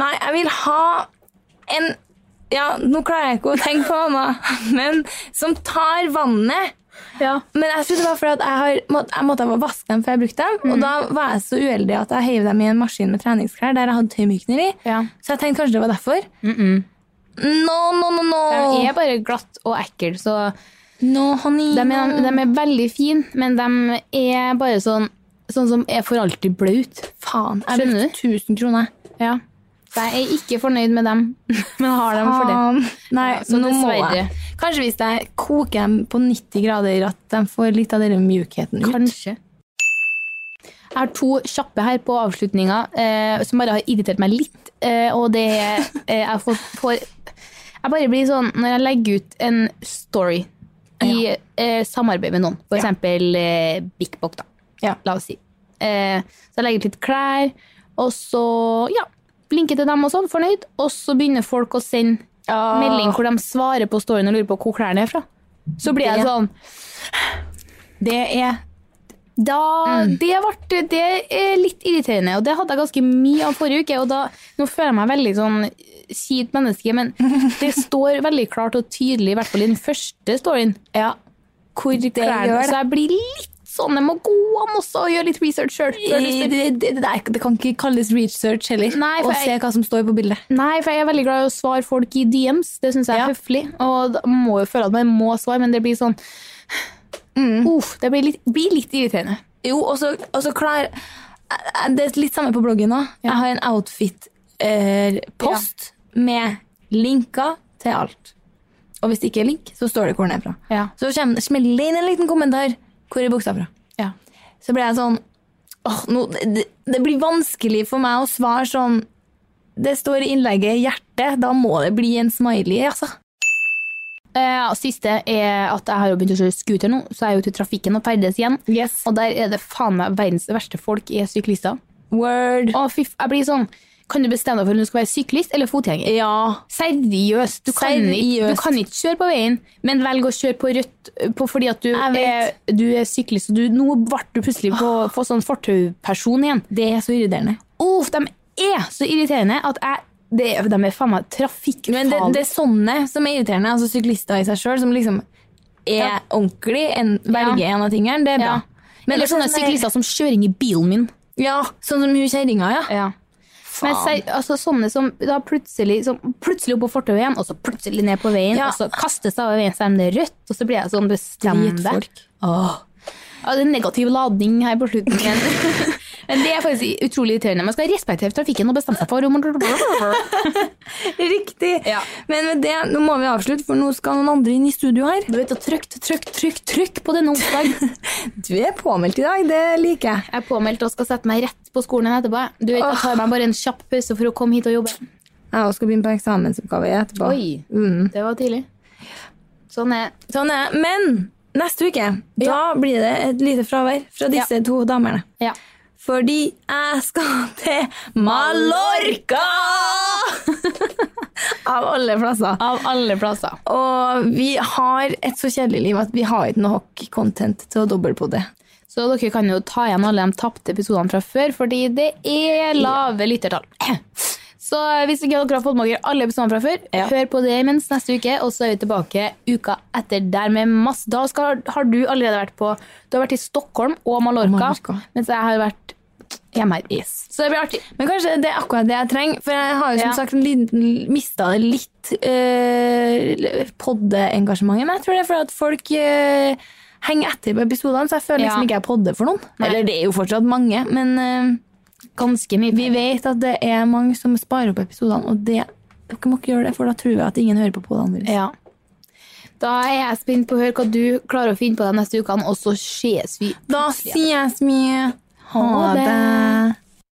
Speaker 1: Nei, jeg vil ha en Ja, nå klarer jeg ikke å tenke på annet, men som tar vannet.
Speaker 2: Ja.
Speaker 1: Men jeg trodde det var fordi at jeg, har, mått- jeg måtte vaske dem før jeg brukte dem. Og da var jeg så uheldig at jeg heiv dem i en maskin med treningsklær der jeg hadde tøymykner i.
Speaker 2: Ja.
Speaker 1: Så jeg tenkte kanskje det var derfor. No, no, no, no.
Speaker 2: De er bare glatt og ekkel, så
Speaker 1: No, honey.
Speaker 2: de er, de er veldig fine, men de er bare sånn Sånn som er for alltid blaut.
Speaker 1: Faen, jeg
Speaker 2: Skjønner
Speaker 1: brukte 1000 kroner.
Speaker 2: Ja. Så jeg er ikke fornøyd med dem, <laughs> men har dem for det.
Speaker 1: Faen. Nei,
Speaker 2: Ja, så
Speaker 1: nå må
Speaker 2: dessverre.
Speaker 1: jeg. Kanskje hvis jeg koker dem på 90 grader, at de får litt av den mjukheten ut.
Speaker 2: Kanskje. Jeg har to kjappe her på avslutninga eh, som bare har irritert meg litt. Eh, og det er eh, jeg, får, får, jeg bare blir sånn når jeg legger ut en story i eh, samarbeid med noen, f.eks. eksempel Eh, Bik Bok, da.
Speaker 1: Ja.
Speaker 2: La oss si. Eh, så jeg legger ut litt klær, og så ja, blinker til dem og sånn, fornøyd. Og så begynner folk å sende melding hvor de svarer på storyen og lurer på hvor klærne er fra. Så blir jeg
Speaker 1: Det-
Speaker 2: sånn
Speaker 1: Det er
Speaker 2: da,
Speaker 1: Mm.
Speaker 2: det, ble, det er litt irriterende, og det hadde jeg ganske mye av forrige uke. Og da, nå føler jeg meg veldig sånn kjipt menneske, men det står veldig klart og tydelig, i hvert fall i den første storyen,
Speaker 1: Ja.
Speaker 2: hvor klærne
Speaker 1: gjør det.
Speaker 2: Så jeg blir litt sånn, jeg må gå an også og gjøre litt research sjøl.
Speaker 1: Det, det, det, det, er- det kan ikke kalles research heller.
Speaker 2: Nei, for
Speaker 1: Å
Speaker 2: jeg-
Speaker 1: se hva som står på bildet.
Speaker 2: Nei, for jeg er veldig glad i å svare folk i DMs. Det syns jeg er
Speaker 1: Ja.
Speaker 2: høflig. Og da må jo føle at man må svare, men det blir sånn
Speaker 1: Mm.
Speaker 2: Uff, det blir litt, blir litt irriterende.
Speaker 1: Jo, og så, og så klar eh, Det er litt samme på bloggen nå. Jeg har en outfit-post med linker til alt. Og hvis det ikke er link, så står det hvor den er fra.
Speaker 2: Ja.
Speaker 1: Så kommer, smeller det inn en liten kommentar. Hvor er buksa fra?
Speaker 2: Ja.
Speaker 1: Så ble jeg sånn åh, nå, det, det blir vanskelig for meg å svare sånn Det står i innlegget 'hjerte'. Da må det bli en smiley, altså.
Speaker 2: Eh, og siste er at jeg har jo begynt å kjøre scooter nå, så jeg er jo ute i trafikken og ferdes igjen. Og der er det faen meg verdens verste folk er syklister.
Speaker 1: Word.
Speaker 2: Å, fy f- jeg blir sånn Kan du bestemme deg for om du skal være syklist eller fotgjenger?
Speaker 1: Ja.
Speaker 2: Seriøst! Du kan, Ikke,
Speaker 1: Seriøst.
Speaker 2: du kan ikke kjøre på veien, men velg å kjøre på rødt eh, på, fordi at du
Speaker 1: Jeg
Speaker 2: er,
Speaker 1: vet.
Speaker 2: du er syklist. Og du, nå ble du plutselig på, på sånn fortauperson igjen.
Speaker 1: Det er så irriterende.
Speaker 2: Uff, de er så irriterende at jeg det, er- De er faen meg
Speaker 1: Men det,
Speaker 2: trafikkfarlige.
Speaker 1: det er sånne som er irriterende. Altså syklister i seg sjøl som liksom er
Speaker 2: Ja.
Speaker 1: ordentlig, en, velger en av tingene. Det er sånn bra.
Speaker 2: Ja. Eller sånne syklister som kjører inn i bilen min.
Speaker 1: Ja, sånn som hun kjerringa, ja.
Speaker 2: Ja. Men ser, altså, sånne som da plutselig, som plutselig opp på fortauet igjen, og så plutselig ned på veien,
Speaker 1: Ja.
Speaker 2: og så kastes det over veien, så er det rødt, og så blir jeg sånn bestem deg.
Speaker 1: Dritfolk.
Speaker 2: <laughs> Ja, det er negativ ladning her på slutten. Men, Men det er faktisk utrolig irriterende. Man skal respektere trafikken og bestemme seg for
Speaker 1: <laughs> Riktig. Men med det, nå må vi avslutte, for nå skal noen andre inn i studio her.
Speaker 2: Du vet, Trykk, trykk, trykk trykk på denne onsdag.
Speaker 1: Du er påmeldt i dag, det liker jeg.
Speaker 2: Jeg er påmeldt og skal sette meg rett på skolen igjen etterpå. Du vet, Jeg tar meg bare en kjapp pause for å komme hit og jobbe.
Speaker 1: Jeg skal begynne på eksamensoppgave etterpå.
Speaker 2: Oi, det var tidlig. Sånn er
Speaker 1: Sånn er det. Men neste uke, da blir det et lite fravær fra disse to damene.
Speaker 2: Ja.
Speaker 1: Fordi jeg skal <laughs> til Mallorca! Av alle plasser.
Speaker 2: Av alle plasser.
Speaker 1: Og vi har et så kjedelig liv at vi har ikke nok content til å dobbeltpodde.
Speaker 2: Så dere kan jo ta igjen alle de tapte episodene fra før, fordi det er lave lyttertall. <clears throat> Så hvis ikke dere har fått med dere alle episodene fra før, hør på det imens neste uke, og så er vi tilbake uka etter der med masse. Da skal, har du allerede vært på Du har vært i Stockholm og Mallorca, mens jeg har vært hjemme her. Yes. Så det blir artig.
Speaker 1: Men kanskje det er akkurat det jeg trenger, for jeg har jo
Speaker 2: Ja.
Speaker 1: som sagt liten- mista litt eh, poddeengasjementet. Men jeg tror det er fordi at folk eh, henger etter på episodene, så jeg føler
Speaker 2: Ja.
Speaker 1: liksom ikke jeg podder for noen.
Speaker 2: Nei.
Speaker 1: Eller det er jo fortsatt mange, men eh,
Speaker 2: Ganske mye.
Speaker 1: vi vet at det er mange som sparer opp episodene, og det, dere må ikke gjøre det, for da tror jeg at ingen hører på podene deres.
Speaker 2: Ja. Da er jeg spent på å høre hva du klarer å finne på de neste ukene, og så ses vi.
Speaker 1: Da sier jeg så mye. Ha
Speaker 2: Ha det.
Speaker 1: det.